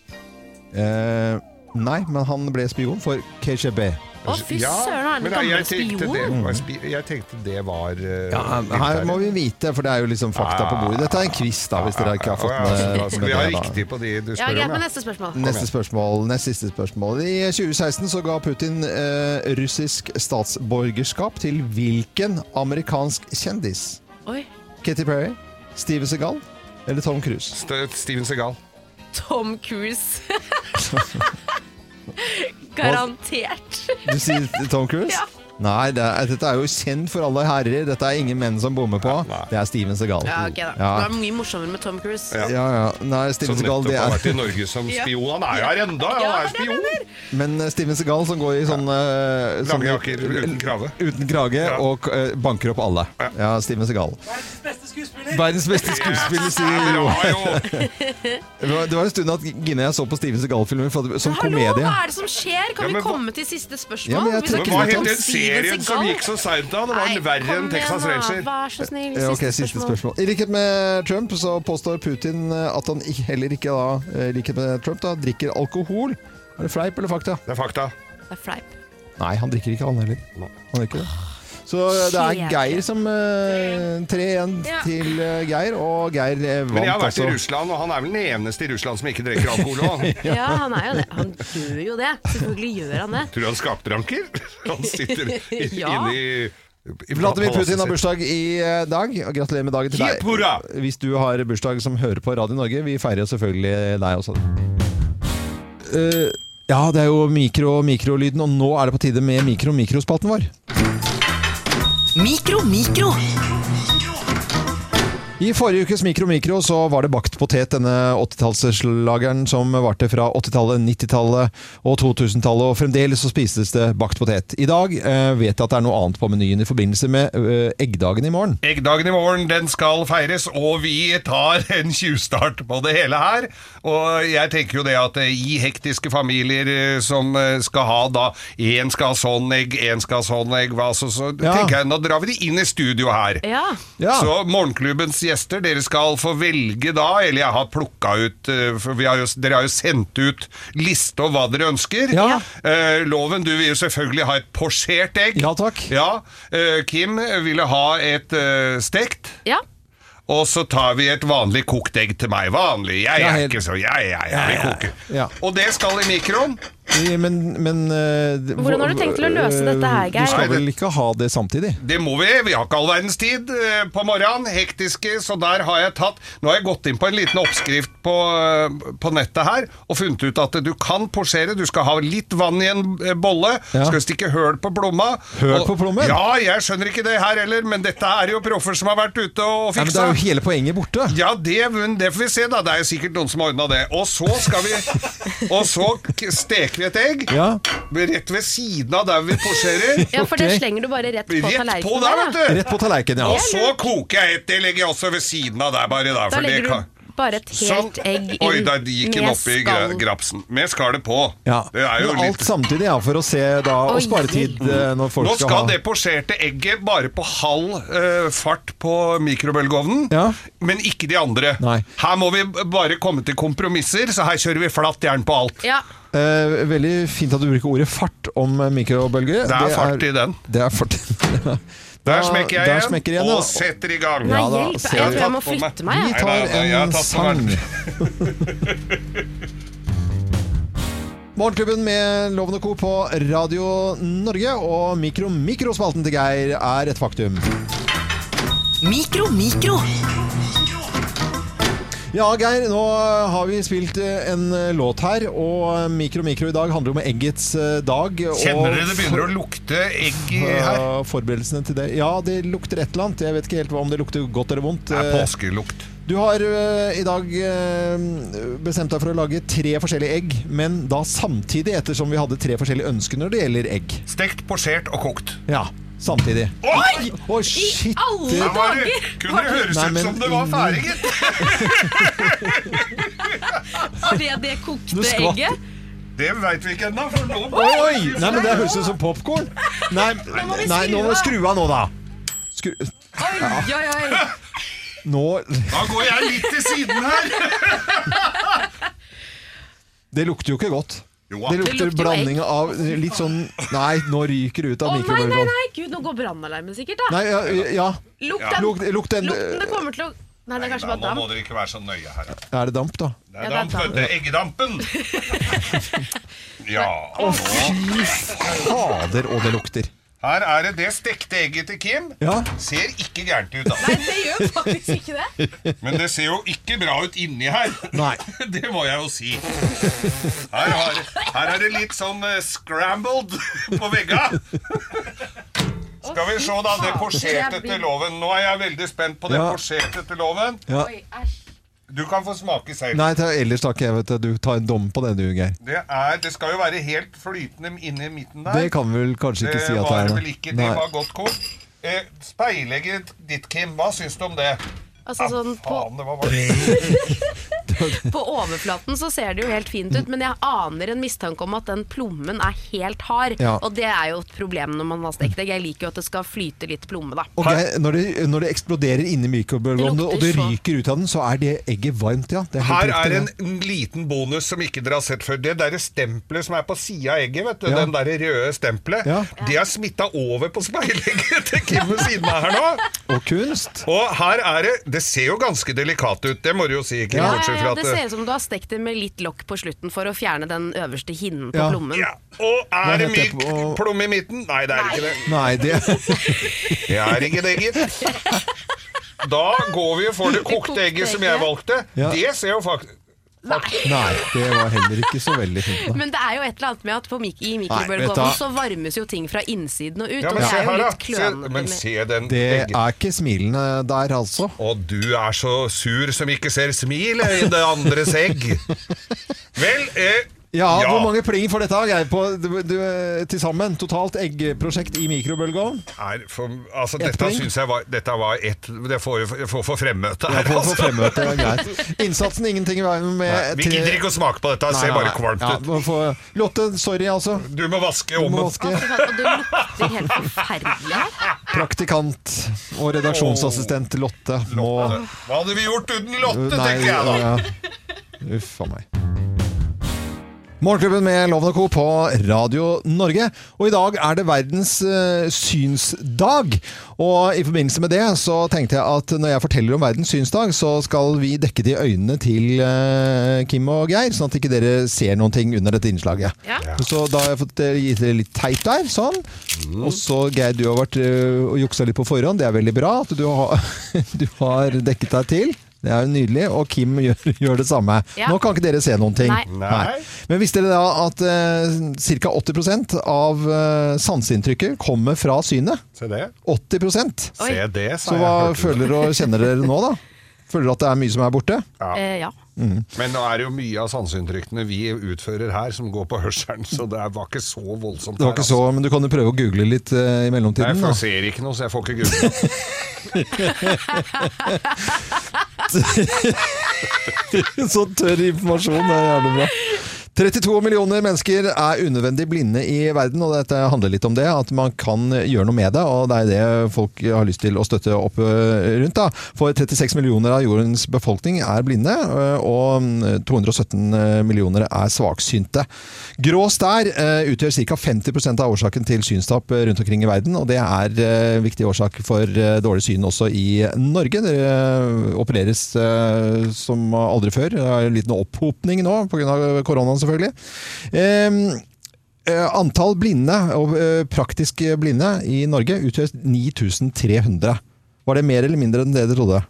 Eh, nei, men han ble spion for KGB. Å, fy søren, han er men en jeg gammel tenkte spion. det var spi- Jeg tenkte det var eh, Mm. Ja, her militæret. må vi vite, for det er jo liksom fakta på bordet. Dette er en quiz, da, hvis dere ikke har fått Å, ja, med altså, med Vi har det, da. riktig på de du Ja, spør greit om. med ja. neste spørsmål. Neste spørsmål, nest siste spørsmål. I 2016 så ga Putin eh, russisk statsborgerskap til hvilken amerikansk kjendis? Oi, Katy Perry, Steve Segal eller Tom Cruise? St- Steven Segal. Tom Cruise. Garantert. Du sier Tom Cruise? Ja. Nei, det er, dette er jo kjent for alle herrer. Dette er ingen menn som bommer på. Nei. Det er Steven Segal. Ja, ok da. Det Ja. var mye morsommere med Tom Cruise. Ja. Ja, ja. Nei, Som Steven Segal, nettopp det har vært er i Norge som Ja. spion. Han er jo her ennå! Ja, Han det er er spion! Men eh, Steven Segal som går i sånne eh, Lange sånne- jakker uten krave. Uten krage Ja. og eh, banker opp alle. Ja, Steven Segal. Verdens beste skuespiller, sier Det jo. var jo Det var, det var en stund at Gine jeg så på Steven Segal-filmer for- som Hallo, komedie. hva er det som skjer? Kan Ja, men vi hva- komme til siste spørsmål? Ja, men jeg Vi tror- Men snakker hva Knut om het den Steven serien som Segal? gikk så seint da? Det var Nei, verre enn kom igjen Texas nå, Ranger. Vær så snill, Ja, siste, ok, siste spørsmål. spørsmål. I likhet med Trump så påstår Putin eh, at han ikke- heller ikke da, eh, i likhet med Trump da, drikker alkohol. Er det fleip eller fakta? Det er fakta. Det er fleip. Nei, han drikker ikke han heller. Nei. Han gjør ikke det. Så eh, det er Kjedelig. Geir som eh, 3-1 Ja. til eh, Geir, og Geir eh, vant Men jeg har vært altså. i Russland, og han er vel den eneste i Russland som ikke drikker alkohol. og han Ja, han er jo det. Han gjør jo det. Selvfølgelig gjør han det. Tror du han skapdranker? Han sitter i- Ja. inne i Vladimir palasset Putin har sitt. bursdag i eh, dag. og Gratulerer med dagen til Hipp hurra! deg. Hvis du har bursdag som hører på Radio Norge, vi feirer selvfølgelig deg også. Eh, ja, det er jo mikro-mikrolyden, og nå er det på tide med mikro-mikrospalten vår. Mikro, mikro. I forrige ukes Mikro Mikro så var det bakt potet, denne 80-tallsslageren som varte fra 80-tallet, 90-tallet og 2000-tallet, og fremdeles så spises det bakt potet. I dag eh, vet jeg at det er noe annet på menyen i forbindelse med eh, eggdagen i morgen. Eggdagen i morgen den skal feires, og vi tar en tjuvstart på det hele her. Og jeg tenker jo det at eh, i hektiske familier eh, som eh, skal ha da Én skal ha sånn egg, én skal ha sånn egg, hva så, så Ja. tenker jeg, Nå drar vi de inn i studio her. Ja. Ja. Så morgenklubbens gjester, dere skal få velge da, eller jeg har plukka ut eh, for vi har jo, Dere har jo sendt ut liste over hva dere ønsker. Ja. Eh, loven, du vil jo selvfølgelig ha et posjert egg. Ja, takk. Ja, eh, Kim ville ha et eh, stekt. ja. Og så tar vi et vanlig kokt egg til meg. Vanlig. Jeg Ja, er helt- ikke så Jeg, jeg, jeg vil koke. Ja. Og det skal i mikroen. Men, men eh, d- Hvordan har du tenkt til å løse eh, dette her, Geir? Du skal vel ikke ha det samtidig? Det må vi. Vi har ikke all verdens tid eh, på morgenen. Hektiske, så der har jeg tatt Nå har jeg gått inn på en liten oppskrift på, eh, på nettet her og funnet ut at du kan posjere. Du skal ha litt vann i en eh, bolle. Ja. Skal stikke høl på blomma. Høl Og- på plommen? Ja, jeg skjønner ikke det her heller, men dette er jo proffer som har vært ute Ja, men og det fiksa. er jo hele poenget borte. Ja, det, men det får vi se, da. Det er jo sikkert noen som har ordna det. Og så skal vi Og så k- steker vi et egg Ja. rett ved siden av der vi posjerer. ja, for det Ok. slenger du bare rett på Rett på tallerkenen. der, da. vet du. Rett på tallerkenen, Og ja. så koker jeg et. Det legger jeg også ved siden av der, bare da. Da For det legger kan Sånn. du bare et helt egg inn Oi, da gikk den oppi gra- grapsen. Med skallet på. ja. Det er jo Men alt litt samtidig, ja, for å se da og Oi, spare tid eh, når folk nå skal skal ha det posjerte egget bare på halv eh, fart på mikrobølgeovnen, Ja. men ikke de andre. Nei. Her må vi b- bare komme til kompromisser, så her kjører vi flatt jern på alt. Ja. Eh, veldig fint at du bruker ordet fart om eh, mikrobølger. Det er fart i den. Det er fart i den. Der Da- smekker jeg der igjen, smekker igjen, ja. og setter i gang. Nei, Ja, da hjelp. ser Jeg vi. tror jeg må Jeg har tatt på flytte meg. Vi meg. jeg. tar Nei, nei, nei, jeg har en tatt på sang. verden. Morgenklubben med Loven og Co. på Radio Norge og mikro-mikrospalten til Geir er et faktum. Mikro, mikro. Ja, Geir, nå har vi spilt eh, en eh, låt her, og mikro-mikro i dag handler om eggets eh, dag. og Kjenner dere det begynner å lukte egg i her? eh, forberedelsene til det. Ja, det lukter et eller annet. Jeg vet ikke helt hva- om det lukter godt eller vondt. Det er Eh, påskelukt. Du har øh, i dag øh, bestemt deg for å lage tre forskjellige egg, men da samtidig, ettersom vi hadde tre forskjellige ønsker når det gjelder egg. Stekt, posjert og kokt. Ja, samtidig. Oi! Å, shit! alle det- Der var det, kunne det høres Nei, ut men- som det var ferdig, gitt. Fordi det kokte Du skvatt. egget. Det veit vi ikke ennå, for nå Oi, oi! Nei, men det høres ut som popkorn. Nei, må vi nei, nå må vi skru skru av nå, da. Skru Oi, oi, oi. Nå Da går jeg litt til siden her. Det lukter jo ikke godt. Jo, Det det lukter lukter jo blanding av litt sånn Nei, nå ryker det ut Å av nei, nei, mikrobølgeovnen. nei, gud, nå går brannalarmen sikkert, da. sånn. Nei, ja, ja. eh, Lukt den. Lukt, lukt den Lukten det kommer til å Nei, det er kanskje Nei, bare da, nå må damp. dere ikke være så nøye her. Er det damp, da? Det Ja, er det er damp, vet du. Eggedampen. Ja. Fy fader, og det lukter. Her er det det stekte egget til Kim. Ja. Ser ikke gærent ut, Nei, da. det gjør faktisk ikke det. Men det ser jo ikke bra ut inni her. Nei. Det må jeg jo si. Her, har, her er det litt sånn eh, scrambled på vegga. Skal vi se, da. Det posjerte til loven. Nå er jeg veldig spent på det Ja. posjerte til loven. Ja. Oi, æsj. Du kan få smake selv. Nei, ta, ellers takk, jeg vet det. Du tar en dom på det, du, Geir. Det, er, det skal jo være helt flytende inni midten der. Det kan vi vel kanskje ikke Det si at Eh, var det er. vel ikke. Nei. Det var godt kokt. Eh, speilegget ditt, Kim, hva syns du om det? Altså sånn på, Faen, det var varmt. på overflaten så ser det jo helt fint ut, men jeg aner en mistanke om at den plommen er helt hard. Ja. Og det er jo et problem når man har stekt egg. Jeg liker jo at det skal flyte litt plomme, da. Og Geir, når, det, når det eksploderer inni mikrobølgeovnen, Det lukter og det så- ryker ut av den, så er det egget varmt, ja. Det er Her helt er en riktig. en liten bonus som ikke dere har sett før. Det derre stempelet som er på sida av egget, vet du. Ja. Den derre røde stempelet. Ja. Det er smitta over på speilegget til Kim ved siden av her nå. det. Og kunst. Og her er det Det ser jo ganske delikat ut, det må du jo si, Kim. Ja. Olsen. bortsett fra eh, at det ser ut som du har stekt det med litt lokk på slutten for å fjerne den øverste hinnen på Ja. plommen. ja, Og er det Hva heter myk det på- plomme i midten? Nei, det er ikke det. Nei, det Det er ikke det, gitt. Da går vi for det kokte kokte egget som jeg egget. valgte. Ja. Det ser jo faktisk Nei, det var heller ikke så veldig fint. da. Men det er jo et eller annet med at på mik i Nei, vet du hva? mikrobølgeovnen så varmes jo ting fra innsiden og ut, ja, og men det se er jo her, da. litt Se, men klønete. se den Det egg... er ikke smilende der, altså. Og du er så sur som ikke ser smilet i det andres egg. Vel, eh, Ja, hvor mange pling for dette har jeg på du, du, til sammen? Totalt eggprosjekt i mikrobølgeovn? er for, altså, Ett Dette poeng. syns jeg var Dette var ett Det får jo jeg får for fremmøte Ja, her, på, på altså. fremmøte, ja, greit. Innsatsen ingenting i veien med Nei, Vi gidder ikke å smake på dette, det ser bare kvalmt ut. ut. Lotte, sorry, altså. Du må vaske Du må ommen. vaske. Fy faen, Og det lukter helt forferdelig her. Praktikant og redaksjonsassistent Lotte må Hva hadde vi gjort uten Lotte, tenker jeg da. ja, ja. Uff a meg. Morgenklubben med Loven og Co. på Radio Norge. Og i dag er det verdens eh, synsdag. Og i forbindelse med det så tenkte jeg at når jeg forteller om verdens synsdag, så skal vi dekke de øynene til eh, Kim og Geir, sånn at ikke dere ser noen ting under dette innslaget. Ja. Så da har jeg fått eh, gitt dere litt teip der, sånn. Og så, Geir, du har vært eh, og juksa litt på forhånd. Det er veldig bra at du har, du har dekket deg til. Det er jo nydelig. Og Kim gjør, gjør det samme. Ja. Nå kan ikke dere se noen ting. Nei. Nei. Men visste dere da at eh, ca. 80 av eh, sanseinntrykket kommer fra synet? Se det. 80 Oi. Se det, sa Så hva jeg. hørte du. føler og kjenner dere nå, da? Føler dere at det er mye som er borte? Eh, ja. Men nå er det jo mye av sanseinntrykkene vi utfører her, som går på hørselen, så det er- var ikke så voldsomt. Det var ikke så, men du kan jo prøve å google litt eh, i altså. Jeg mellomtiden. da. får, ser ikke noe, så jeg får ikke googlet. Så tørr informasjon, det er jævlig bra. 32 millioner mennesker er unødvendig blinde i verden, og dette handler litt om det. At man kan gjøre noe med det, og det er det folk har lyst til å støtte opp eh, rundt. Da. For 36 millioner av jordens befolkning er blinde, eh, og 217 millioner er svaksynte. Grå stær eh, utgjør ca. 50 av årsaken til synstap eh, rundt omkring i verden, og det er eh, viktig årsak for eh, dårlig syn også i Norge. Det eh, opereres eh, som aldri før. Det er en liten opphopning nå pga. koronaen, selvfølgelig. Ehm, eh, Antall blinde og eh, praktisk blinde i Norge utgjør 9300. Var det mer eller mindre enn det dere trodde?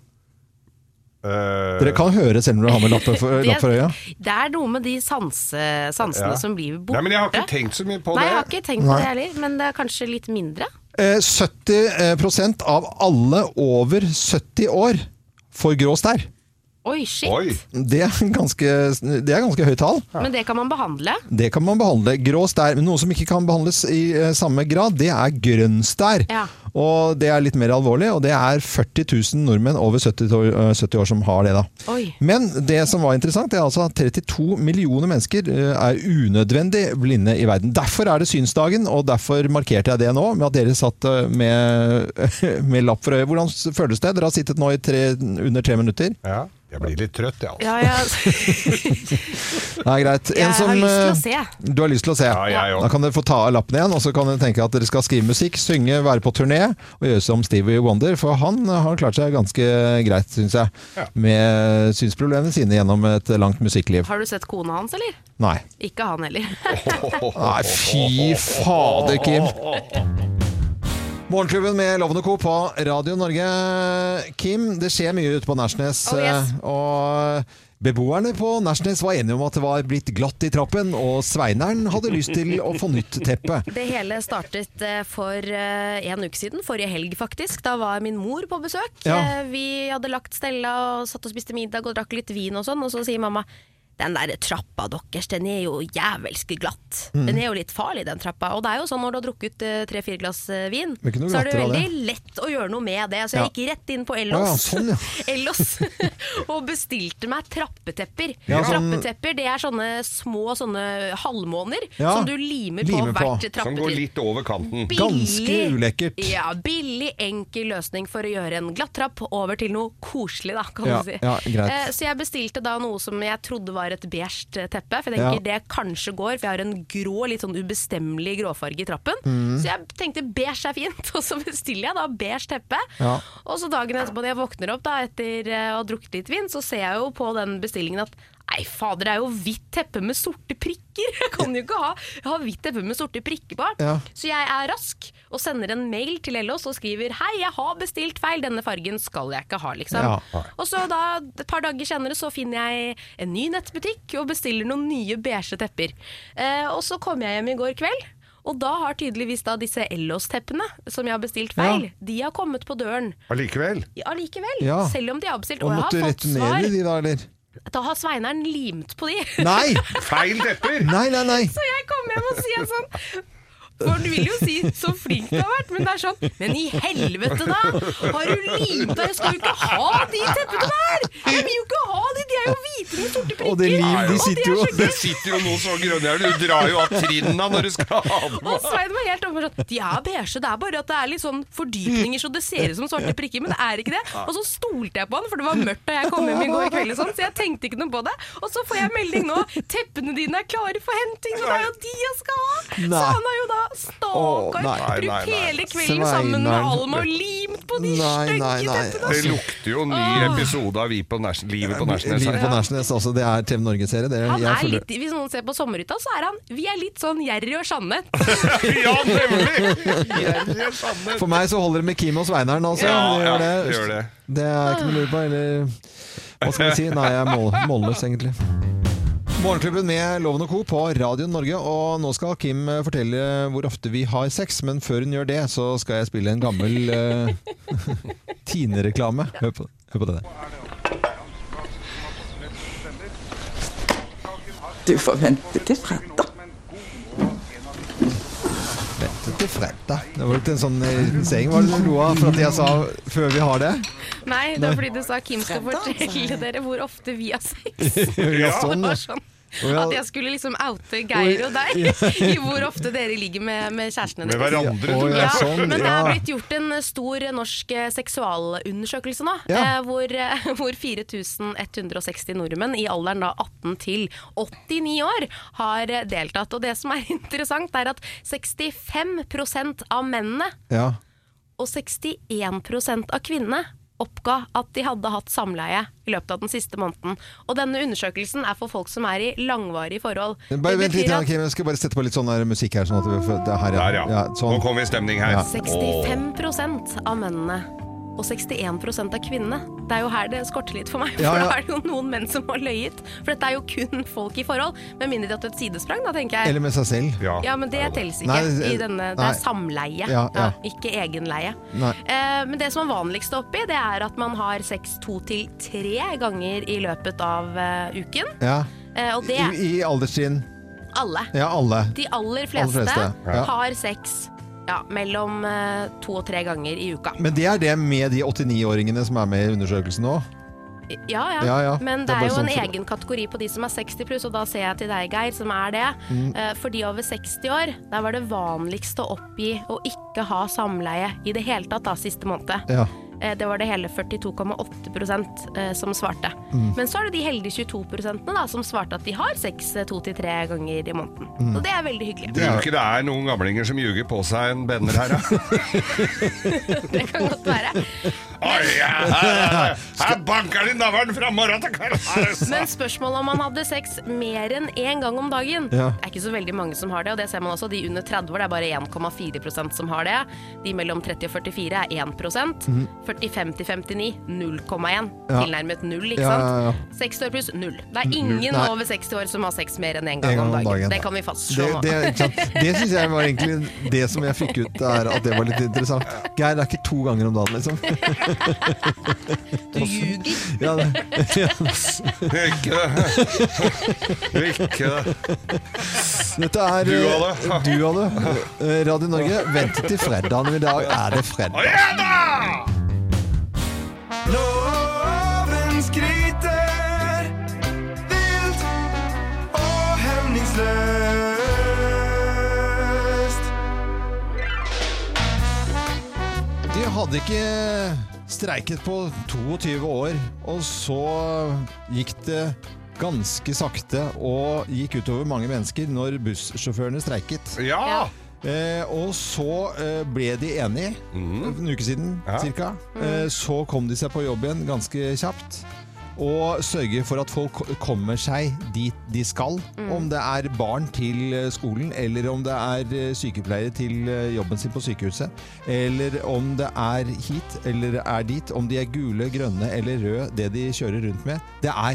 Dere Eh, kan høre selv om dere har med lapp for, Det- lapp for øya. Det er noe med de sanse, sansene Ja. som blir borte. Nei, men jeg har ikke tenkt så mye på Nei, jeg har det. ikke tenkt på Nei. det heller, men det er kanskje litt mindre. Eh, 70 av alle over 70 år får grå stær. Oi, shit. Oi, Det er ganske, det er ganske høyt tall. Men det kan man behandle. Det kan man behandle. Grå stær, men noe som ikke kan behandles i eh, samme grad, det er grønn stær. Ja. Og det er litt mer alvorlig, og det er 40 000 nordmenn over 70 år, eh, 70 år som har det. da. Oi. Men det som var interessant, det er altså at 32 millioner mennesker eh, er unødvendig blinde i verden. Derfor er det synsdagen, og derfor markerte jeg det nå, med at dere satt eh, med, med lapp for øyet. Hvordan føles det? Dere har sittet nå i tre, under tre minutter. ja. Jeg blir litt trøtt, jeg, altså. Ja, ja. Det er greit. Jeg har lyst til å eh, se. Du har lyst til å se. Ja, jeg Da òg. kan dere få ta av lappen igjen, og så kan dere tenke at dere skal skrive musikk, synge, være på turné og gjøre som Stevie Wonder, for han har klart seg ganske greit, syns jeg, Ja. med synsproblemene sine gjennom et langt musikkliv. Har du sett kona hans, eller? Nei. Ikke han heller. Nei, fy fader, Kim. Morgenklubben med Loven og Co. på Radio Norge. Kim, det skjer mye ute på Nærsnes. Oh, yes. Og beboerne på Nærsnes var enige om at det var blitt glatt i trappen, og Sveineren hadde lyst til å få nytt teppe. Det hele startet eh, for eh, en uke siden, forrige helg faktisk. Da var min mor på besøk. Ja. Eh, Vi hadde lagt stella og satt og spiste middag og drakk litt vin og sånn, og så sier mamma den der trappa deres, den er jo jævelsk glatt. Mm. Den er jo litt farlig, den trappa. Og det er jo sånn når du har drukket tre-fire glass eh, vin, Det er ikke noe så er det glattere av veldig lett å gjøre noe med det. Så Ja. jeg gikk rett inn Å på ja, Ellos, sånn, ja. Ellos og bestilte meg trappetepper. Ja, sånn- Trappetepper det er sånne små sånne halvmåner Ja. som du limer på Limer på. hvert Som går trappetrinn. litt over kanten. Billig- Ganske ulekkert. Ja, billig, enkel løsning for å gjøre en glattrapp over til noe koselig, da, kan Ja, du si. ja, greit. Eh, så jeg bestilte da noe som jeg trodde var har et beige teppe. For jeg tenker det kanskje går, for jeg har en grå, litt sånn ubestemmelig gråfarge i trappen. Mm. Så jeg tenkte beige er fint, og så bestiller jeg da beige teppe. Ja. Og så dagen etterpå når jeg våkner opp da etter eh, å ha drukket litt vin, så ser jeg jo på den bestillingen at Nei, fader, det er jo hvitt teppe med sorte prikker! Jeg kan jo ikke ha, jeg har hvitt teppe med sorte prikker på! Ja. Så jeg er rask og sender en mail til Ellos og skriver Hei, jeg har bestilt feil, denne fargen skal jeg ikke ha, liksom. Ja. Og så da, et par dager senere så finner jeg en ny nettbutikk og bestiller noen nye beige tepper. Eh, og så kom jeg hjem i går kveld, og da har tydeligvis da disse Ellos-teppene som jeg har bestilt feil, Ja. de har kommet på døren Allikevel. allikevel. Ja. Selv om de har bestilt, Og og, jeg måtte har fått svar, returnere de da, eller? da har Sveineren limt på de. Nei! Feil tepper! Nei, nei, nei! Så jeg kommer hjem og sier sånn for du vil jo si 'så flink du har vært', men det er sånn 'men i helvete, da! Har du limt deg? Jeg skal jo ikke ha de teppene der! Jeg vil jo ikke ha de! De er jo hvite med sorte prikker! Og det lim, de Og sitter er jo- så Det sitter jo noe så grønnjævlig, du drar jo av trinna når du skal ha den. Og Svein var helt overfor sånn De er beige, det er bare at det er litt sånn fordypninger så det ser ut som svarte prikker, men det er ikke det. Og så stolte jeg på han, for det var mørkt da jeg kom hjem i går kveld, og sånn, så jeg tenkte ikke noe på det. Og så får jeg melding nå. Teppene dine er klare for henting, og det er jo de jeg skal ha! Så Nei. han har jo da Å, stakkar nei. Nei, brukt nei, nei. hele kvelden sammen med Sveinaren. Alma og limt på de Nei, stygge nei, nei. teppene. Det lukter jo ny episode av vi på Ners- Livet på Nesjnes. Livet på Nærsnes, altså. Det er TV Norge-serie. det er- Han jeg er følger- litt, hvis noen ser på Sommerhytta, så er han Vi er litt sånn Jerry og Sjanne. Ja, nemlig! Gjerrig Sandnes. For meg så holder det med Kim og Sveineren, altså. Ja, det, gjør ja, det. det gjør det. Det er ikke noe å lure på, eller Hva skal vi si? Nei, jeg er mål, målløs, egentlig. Morgenklubben med Loven og Co. på Radio Norge. Og nå skal Kim eh, fortelle hvor ofte vi har sex, men før hun gjør det, så skal jeg spille en gammel eh, Tine-reklame. Hør på, hør på det der. Du får vente til fredag. Vente til fredag. Det var litt en sånn eh, liten saying, var det du lo av for at jeg sa før vi har det? Nei, det var fordi du sa Kim skal Fredag, altså. fortelle dere hvor ofte vi har sex. Ja, Det sånn, ja. var sånn. Og jeg- At jeg skulle liksom oute Geir og deg i hvor ofte dere ligger med, med kjærestene Med deres. hverandre, Å, ja, tror Ja, jeg. sånn, men det ja. er blitt gjort en eh, stor eh, norsk eh, seksualundersøkelse nå, Ja. eh, hvor, eh, hvor 4160 nordmenn i alderen da 18 til 89 år har eh, deltatt. Og det som er interessant, er at 65 av mennene Ja. og 61 av kvinnene oppga at de hadde hatt samleie i løpet av den siste måneden. Og denne undersøkelsen er for folk som er i langvarige forhold. Bare Det vent litt, betyr ja, at Kim. Jeg skal bare sette på litt sånn der musikk her. Sånn at vi får, det er her, Der, ja. sånn. Nå kom vi i stemning her. Ja. 65 av mennene og 61 av kvinnene. Det er jo her det skorter litt for meg, for Ja, ja. da er det jo noen menn som har løyet. For dette er jo kun folk i forhold, med mindre de har tatt et sidesprang, da, tenker jeg. Eller med seg selv. Ja, men det telles ikke. Nei, eh, i denne, det nei. er samleie, Ja, ja. ikke egenleie. Nei. Eh, men det som er vanligst oppi, det er at man har sex to til tre ganger i løpet av eh, uken. Ja. Eh, og I, det er i alderstrinn. alle. Ja, alle. De aller fleste, fleste, ja. har sex ja, mellom eh, to og tre ganger i uka. Men det er det med de 89-åringene som er med i undersøkelsen nå? Ja, ja. Ja, ja. Men Det det, er er, bare jo sånn en for- egen kategori på de som er 60 pluss, og da ser jeg til deg, Geir, som er det. Mm. Eh, For de over 60 år, der var det vanligst å oppgi å ikke ha samleie i det hele tatt da, siste måned. Ja. Eh, Det var det hele 42,8 eh, som svarte. Mm. Men så er det de heldige 22 da, som svarte at de har sex eh, to til tre ganger i måneden. Mm. Så det er veldig hyggelig. Tror du ikke det er noen gamlinger som ljuger på seg en bender her, da? Det kan godt være. Oi, ja, her, her, her banker de navlen fra morgen til kveld! Her, altså. Men spørsmålet om man hadde sex mer enn én gang om dagen Ja. Det er ikke så veldig mange som har det, og det ser man også. De under 30 år, det er bare 1,4 som har det. De mellom 30 og 44 er 1 45 til 59 0,1. Mm. Ja. Tilnærmet null, ikke Ja, sant? ja, ja. 60 år pluss null. Det er ingen Nei. over 60 år som har sex mer enn én gang, En om dagen. Det kan vi fastslå Det, nå. det, ikke sant? det syns jeg var egentlig det som jeg fikk ut der, at det var litt interessant. Geir, det er ikke to ganger om dagen, liksom. Du ljuger. Ja, det. Ikke det. Ikke det. Dette er Du og eh, du og det. Eh, Radio Norge, vent til fredagen i dag. Er det fredag? Å, ja da! Loven skryter vilt og hemningsløst. De hadde ikke streiket på 22 år, og så gikk det ganske sakte og gikk utover mange mennesker når bussjåførene streiket. Ja! Eh, og så eh, ble de enige for en uke siden Ja. cirka. Eh, så kom de seg på jobb igjen ganske kjapt. Og sørge for at folk ko- kommer seg dit de skal. Om det er barn til eh, skolen, eller om det er eh, sykepleiere til eh, jobben sin på sykehuset. Eller om det er hit eller er dit. Om de er gule, grønne eller røde, det de kjører rundt med. Det er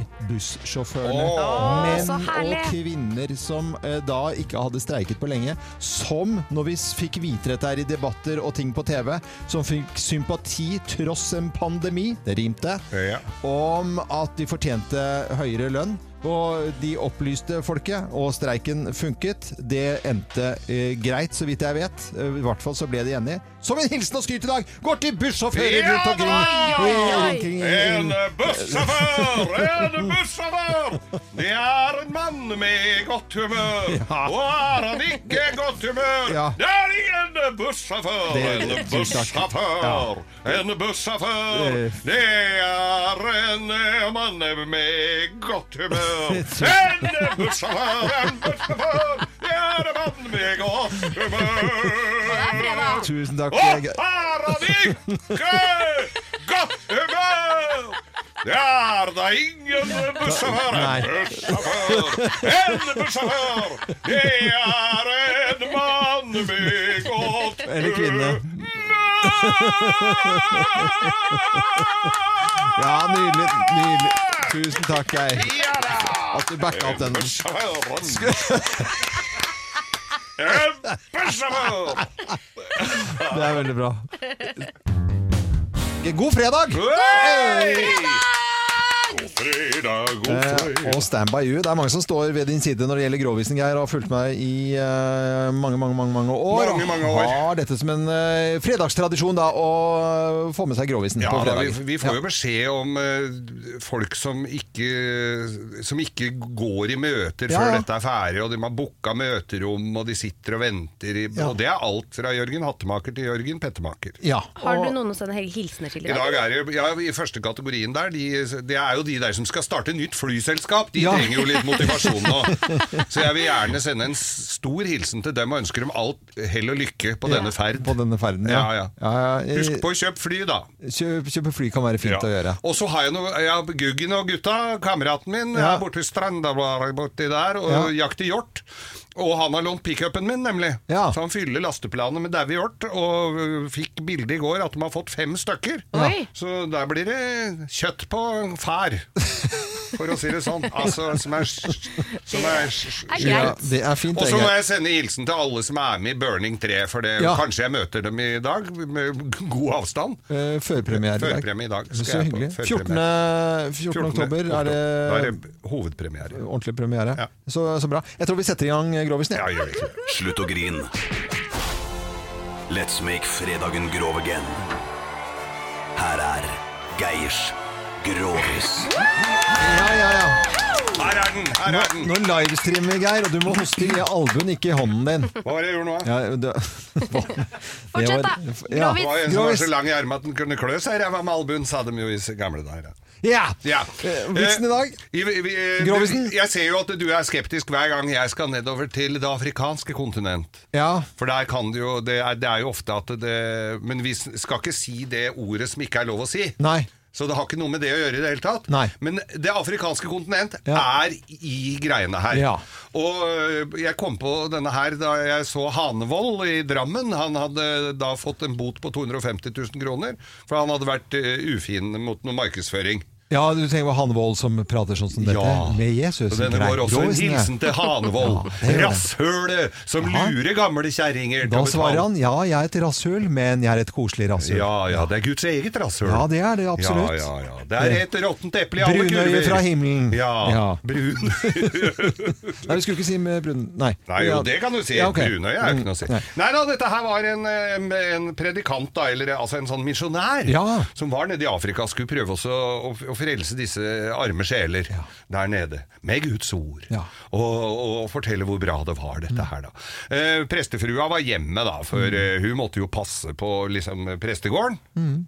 bussjåførene. Åh. Menn så og herlig. kvinner som eh, da ikke hadde streiket på lenge, som når vi s- fikk vite dette her i debatter og ting på TV, som fikk sympati tross en pandemi, det rimte, Ja. om at de fortjente høyere lønn. Og de opplyste folket, og streiken funket. Det endte eh, greit, så vidt jeg vet. Eh, I hvert fall så ble de enige. Som en hilsen og skryt i dag går til bussjåfører Ja rundt omkring! da! eh, rundt omkring i- En bussjåfør, en bussjåfør! Det er en mann med godt humør. Ja. Og er han ikke i godt humør, Ja. det er ingen bussjåfør. Det- En tusen takk. bussjåfør, en bussjåfør. Det- Det er en eh, mann med godt humør. En bussjåfør, en bussjåfør. Det er en mann med godt humør. Tusen takk. eh, Og Greg. her har vi ikke godt humør! Det er da ingen bussjåfør! Nei. Bussjåfør! En bussjåfør! Det er en mann med godt Eller kvinne. humør! Ja, nydelig. nydelig. Tusen takk, Geir. Ja da! At du backa opp den. Bussjåføren. En bussjåfør! Det er veldig bra. God fredag! Hei! God fredag, god Eh, fredag. og stand by you. Det er mange som står ved din side når det gjelder Grovisen, Geir, og har fulgt meg i eh, mange, mange mange, mange år. Mange, mange år. Og Har dette som en eh, fredagstradisjon, da, å få med seg Grovisen Ja, på da, fredag. vi, vi får jo beskjed om eh, folk som ikke, som ikke går i møter Ja, før ja. dette er ferdig, og de har booka møterom, og de sitter og venter i Ja. Og det er alt fra Jørgen Hattemaker til Jørgen Pettemaker. Ja. Har du noen å sende hilsener til I dag er det, ja, I første kategorien der, de, det er jo de der som skal starte nytt flyselskap. De Ja. trenger jo litt motivasjon nå. Så jeg vil gjerne sende en s- stor hilsen til dem og ønsker dem alt hell og lykke på denne ferd. På denne ferden, Ja, ja. ja, eh, Husk på å kjøpe fly, da. Kjøp, kjøpe fly kan være fint å gjøre. Og så har jeg noe ja, Guggen og gutta, kameraten min, Ja. er borte i stranda bare borti der og jakter hjort. Og han har lånt pickupen min, nemlig. Ja. Så han fyller lasteplanet med daue hjort. Og ø, fikk bilde i går at de har fått fem stykker. Oi. Så der blir det kjøtt på fær. For å si det sånn. Altså, som er, som er er, greit. Ja, det er fint. og det, så må Geir. jeg sende hilsen til alle som er med i Burning 3, for det, Ja. kanskje jeg møter dem i dag, med god avstand. Eh, Førpremiere i dag. Førpremiere i dag skal Så jeg på. hyggelig. 14. Førpremiere. 14. oktober er Da er det det hovedpremiere. ordentlig premiere. Ja. Så, så bra. Jeg tror vi setter i gang eh, Grovisen. Ja, Ja. gjør det ikke det. Slutt å grin. Let's make fredagen grov again. Her er Geirs Grovis. Ja, ja, ja. Her er den! Her Nå, er den! nå livestreamer vi, Geir, og du må hoste i albuen, ikke i hånden din. Hva var det jeg gjorde nå? da? Ja, det, Fortsett, da. Ja. Det Grovis. var en som var Grovis. så lang i armen at den kunne klø seg i ræva med albuen, sa de jo i s- gamle dager. ja. Ja. Eh, Vitsen i dag? Eh, i- i- i- Grovisen? Jeg ser jo at du er skeptisk hver gang jeg skal nedover til det afrikanske kontinent. Ja. For der kan det jo det er, det er jo ofte at det Men vi s- skal ikke si det ordet som ikke er lov å si. Nei. Så det har ikke noe med det å gjøre i det hele tatt. Nei. Men det afrikanske kontinent Ja. er i greiene her. Ja. Og øh, jeg kom på denne her da jeg så Hanevold i Drammen. Han hadde øh, da fått en bot på 250 000 kroner, for han hadde vært øh, ufin mot noe markedsføring. Ja, du tenker på han Wold som prater sånn som dette? Med Jesus. Og Denne Grei. var også en Grovisen, ja. hilsen til Ja, Hanevold. det gjør det. Rasshølet som Ja. lurer gamle kjerringer. til Da å betale. svarer han ja, jeg er et rasshull, men jeg er et koselig rasshull. Ja, ja, det er Guds eget rasshøl. Ja, det er det, absolutt. Ja, ja, ja. Det er et råttent eple i alle kurver. Brunøye fra himmelen. Ja, Ja. brun. Nei, vi skulle ikke si med brun... Nei. Nei, jo, det kan du si. Ja, ok. Mm. Brunøye er jo ikke noe å si. Nei. Nei da, dette her var en, eh, en predikant, da, eller altså en sånn misjonær, Ja. som var nede i Afrika, skulle prøve også å, å, å frelse disse arme sjeler der nede med Guds ord. Ja. Og, og fortelle hvor bra det var, dette her, da. Eh, prestefrua var hjemme, da, for Mm. eh, hun måtte jo passe på liksom, prestegården.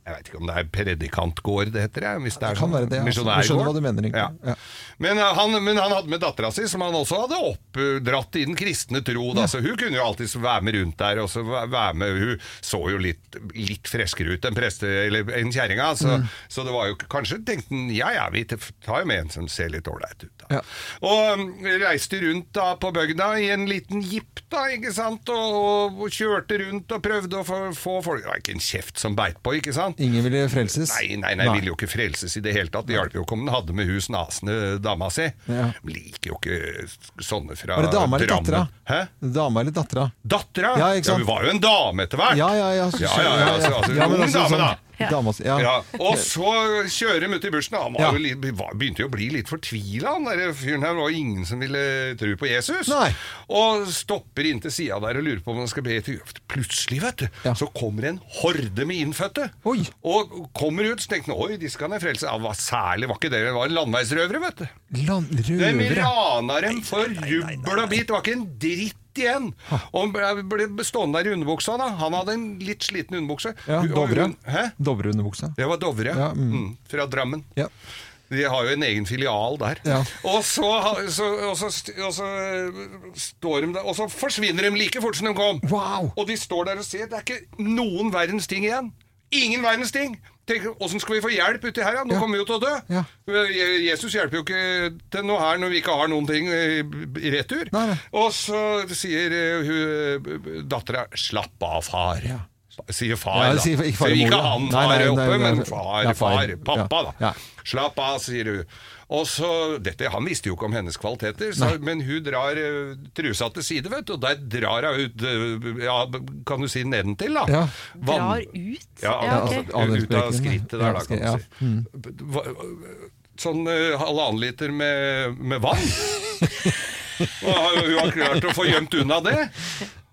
Jeg veit ikke om det er predikantgård det heter, jeg, hvis det, Mm. det er kan sånn være det, altså. Jeg misjonærgård. skjønner hva du mener, egentlig. Ja. Ja. Men, eh, han, men han hadde med dattera si, som han også hadde oppdratt i den kristne tro. Da, så Hun kunne jo alltid være med rundt der. Og så væ- være med, hun så jo litt, litt freskere ut enn preste- eller enn kjerringa, så, Mm. så det var jo kanskje tenkte han ja ja, vi tar jo med en som ser litt ålreit ut. Da. Ja. Og um, reiste rundt da på bygda i en liten jeep, da, ikke sant, og, og, og kjørte rundt og prøvde å få, få folk Det var ikke en kjeft som beit på, ikke sant? Ingen ville frelses? Nei, nei, nei, ville jo ikke frelses i det hele tatt. Det hjalp jo ikke om den hadde med hus nasende dama si. Ja. Liker jo ikke sånne fra Var det dama eller Drammen. dattera? Hæ? Dama eller dattera? Dattera? Ja, ikke sant? hun var jo en dame etter hvert. Ja, ja, ja. ja, ja, ja, altså, altså, Ja, men ung altså, dame, sånn- da. Ja. Dama, ja. Ja, og så kjører de ut i bussen. da. Han var Ja. jo litt, var, begynte jo å bli litt fortvila, han der fyren her. Det var jo ingen som ville tro på Jesus. Nei. Og stopper inntil sida der og lurer på om han skal be til Gud. Plutselig, vet du, Ja. så kommer en horde med innfødte. Oi. Og kommer ut, så tenkte han oi, de skal ned frelse. Ja, hva særlig var ikke det, det var landeveisrøvere, vet du. Land, De røvere. rana dem for jubbel og bit. Det var ikke en dritt igjen. Og han ble- ble stående der i underbuksa, da. Han hadde en litt sliten underbukse. Ja, Hun- og Dovre. hun- Hæ? Dovre under buksa. Det var Dovre, Ja, mm. mm. fra Drammen. Ja. De har jo en egen filial der. Ja. Og, så, ha- så, og, så, st- og så eh, står de der, og så forsvinner de like fort som de kom. Wow. Og de står der og ser. Det er ikke noen verdens ting igjen. Ingen verdens ting! Tenk, Åssen skal vi få hjelp uti her? Ja? Nå Ja. kommer vi jo til å dø! Ja. Je- Jesus hjelper jo ikke til noe her når vi ikke har noen ting eh, i retur. Nei, nei. Og så sier eh, hun dattera 'slapp av, far'. Ja. Sier far, Ja, da. sier ikke far Sier og mor, ikke da. han Nei, far nei, nei, oppe, nei, nei, men far, ja, far. far, pappa, Ja, da. ja. Slapp av, sier hun. Og så, dette, Han visste jo ikke om hennes kvaliteter, så, men hun drar eh, trusa til side, vet du, og der drar hun ut eh, ja, Kan du si nedentil, da? Ja. Drar Vann- ut? Ja, Ja, ok. altså, ut av skrittet der, da, kan Ja, Mm. du si. Hva- Sånn eh, halvannen liter med, med vann. Og har- hun har klart å få gjemt unna det.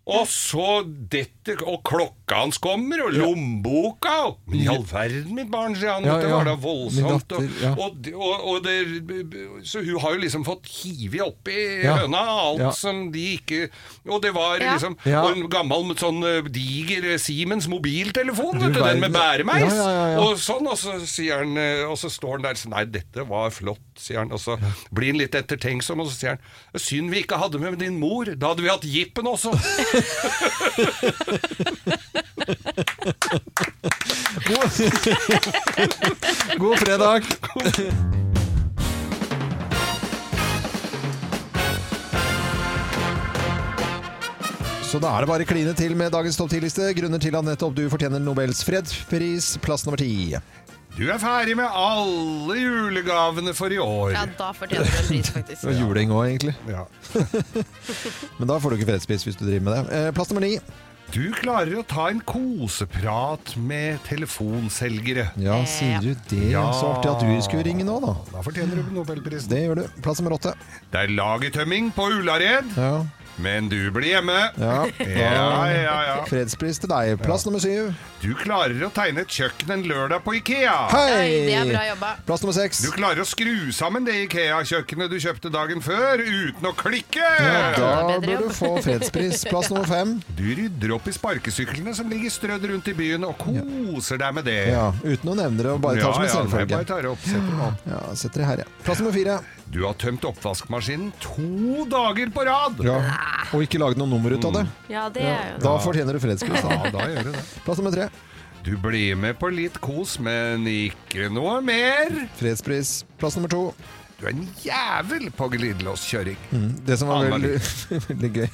Og så detter Og klokka hans kommer, og lommeboka og, Men i all verden, mitt barn, sier han. Ja, dette ja. var da voldsomt. Min datter, ja. og, og, og, og det, så hun har jo liksom fått hivet oppi i Ja. høna alt Ja. som de ikke Og det var Ja. liksom Ja. og en gammel sånn eh, diger Siemens mobiltelefon, Du vet du, den verden. med bæremeis. Ja, ja, ja, ja. Og sånn, og så sier han eh, Og så står han der sånn Nei, dette var flott, sier han. Og så blir han litt ettertenksom, og så sier han Synd vi ikke hadde med din mor. Da hadde vi hatt jippen også. God, God fredag! Så da er det bare å kline til med dagens topp 10-liste. Grunner til at nettopp du fortjener Nobels fredspris, plass nummer ti. Du er ferdig med alle julegavene for i år. Ja, da fortjener du en pris, Det var faktisk. juling òg, egentlig. Ja. Men da får du ikke fredspris hvis du driver med det. Eh, Plass nummer ni. Du klarer å ta en koseprat med telefonselgere. Eh, Ja, sier du det? Ja. Så artig at du skulle ringe nå, da. Da fortjener du Nobelprisen. Det gjør du. Plass nummer åtte. Det er lagertømming på Ullared, Ja. men du blir hjemme. ja. Ja, ja, ja. Fredspris til deg. Plass nummer syv. Du klarer å tegne et kjøkken en lørdag på Ikea. Oi, det er bra Hei! jobba. Plass nummer seks. Du klarer å skru sammen det Ikea-kjøkkenet du kjøpte dagen før, uten å klikke. Ja, da Bedre burde du jobb. få fredspris. Plass nummer fem. Du rydder opp i sparkesyklene som ligger strødd rundt i byen, og koser deg med det. Ja, uten å nevne det, og bare tar det som en Ja, ja, jeg bare selvfølge. tar det opp, setter det opp. Ja, setter det her, ja. Plass nummer fire. Du har tømt oppvaskmaskinen to dager på rad. Ja. Og ikke lage noe nummer ut av det. Ja, det er jo Da fortjener du fredspris. Da. Mm. Ja, da gjør du det. Plass nummer tre. Du blir med på litt kos, men ikke noe mer. Fredspris. Plass nummer to. Du er en jævel på glidelåskjøring. Det som var Anna veldig, veldig gøy.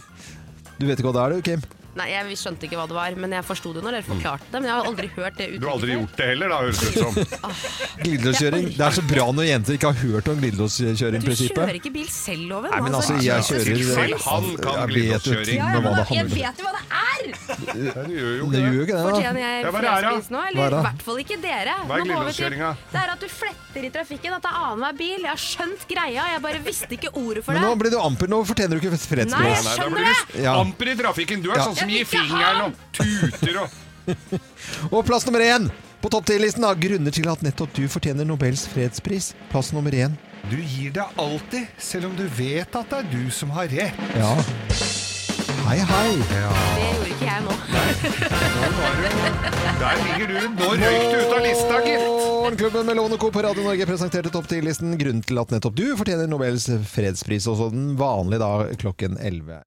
Du vet ikke hva det er, du, Kim? Nei, jeg skjønte ikke hva det var, men jeg forsto det når dere forklarte det. Men jeg har aldri hørt det Du uttrykket. har aldri før. gjort det heller, da, høres det ut som. Glidelåskjøring. Det er så bra når jenter ikke har hørt om Du kjører glidelåskjøring-prinsippet. ikke bil selv, Loven. Nei, men altså, jeg Jesus kjører Selv han Jeg vet kan jo glidelåskjøring. ting Ja, om men hva det jeg handler om. vet jo hva det er! Ja, du gjør jo Det ikke gjør det. jo ikke det, da. Fortjener jeg Ja, hva er det her, da? fredspris nå? Hva er Eller det? i hvert fall ikke dere. Nå Hva er går vi til- glidelåskjøringa? Det er at du fletter i trafikken. At det er annenhver bil. Jeg har skjønt greia, jeg bare visste ikke ordet for Men nå det. ble du amper, nå fortjener du ikke Nei, fredspris. jeg Nei, da skjønner blir du Ja. amper i trafikken. Du er Ja. sånn som Jeg gir vil ikke ha fingeren og tuter og Og plass nummer én! På topp 10-listen av grunner til at nettopp du fortjener Nobels fredspris. Plass nummer én. Du gir deg alltid, selv om du vet at det er du som har rett. Ja. Hei, hei. Det gjorde ikke jeg nå. Der ligger du. Nå røyk du ut av lista, gitt. Morgenklubben med Låne Co. på Radio Norge presenterte topp 10-listen grunnen til at nettopp du fortjener Nobels fredspris, og så den vanlige da klokken 11.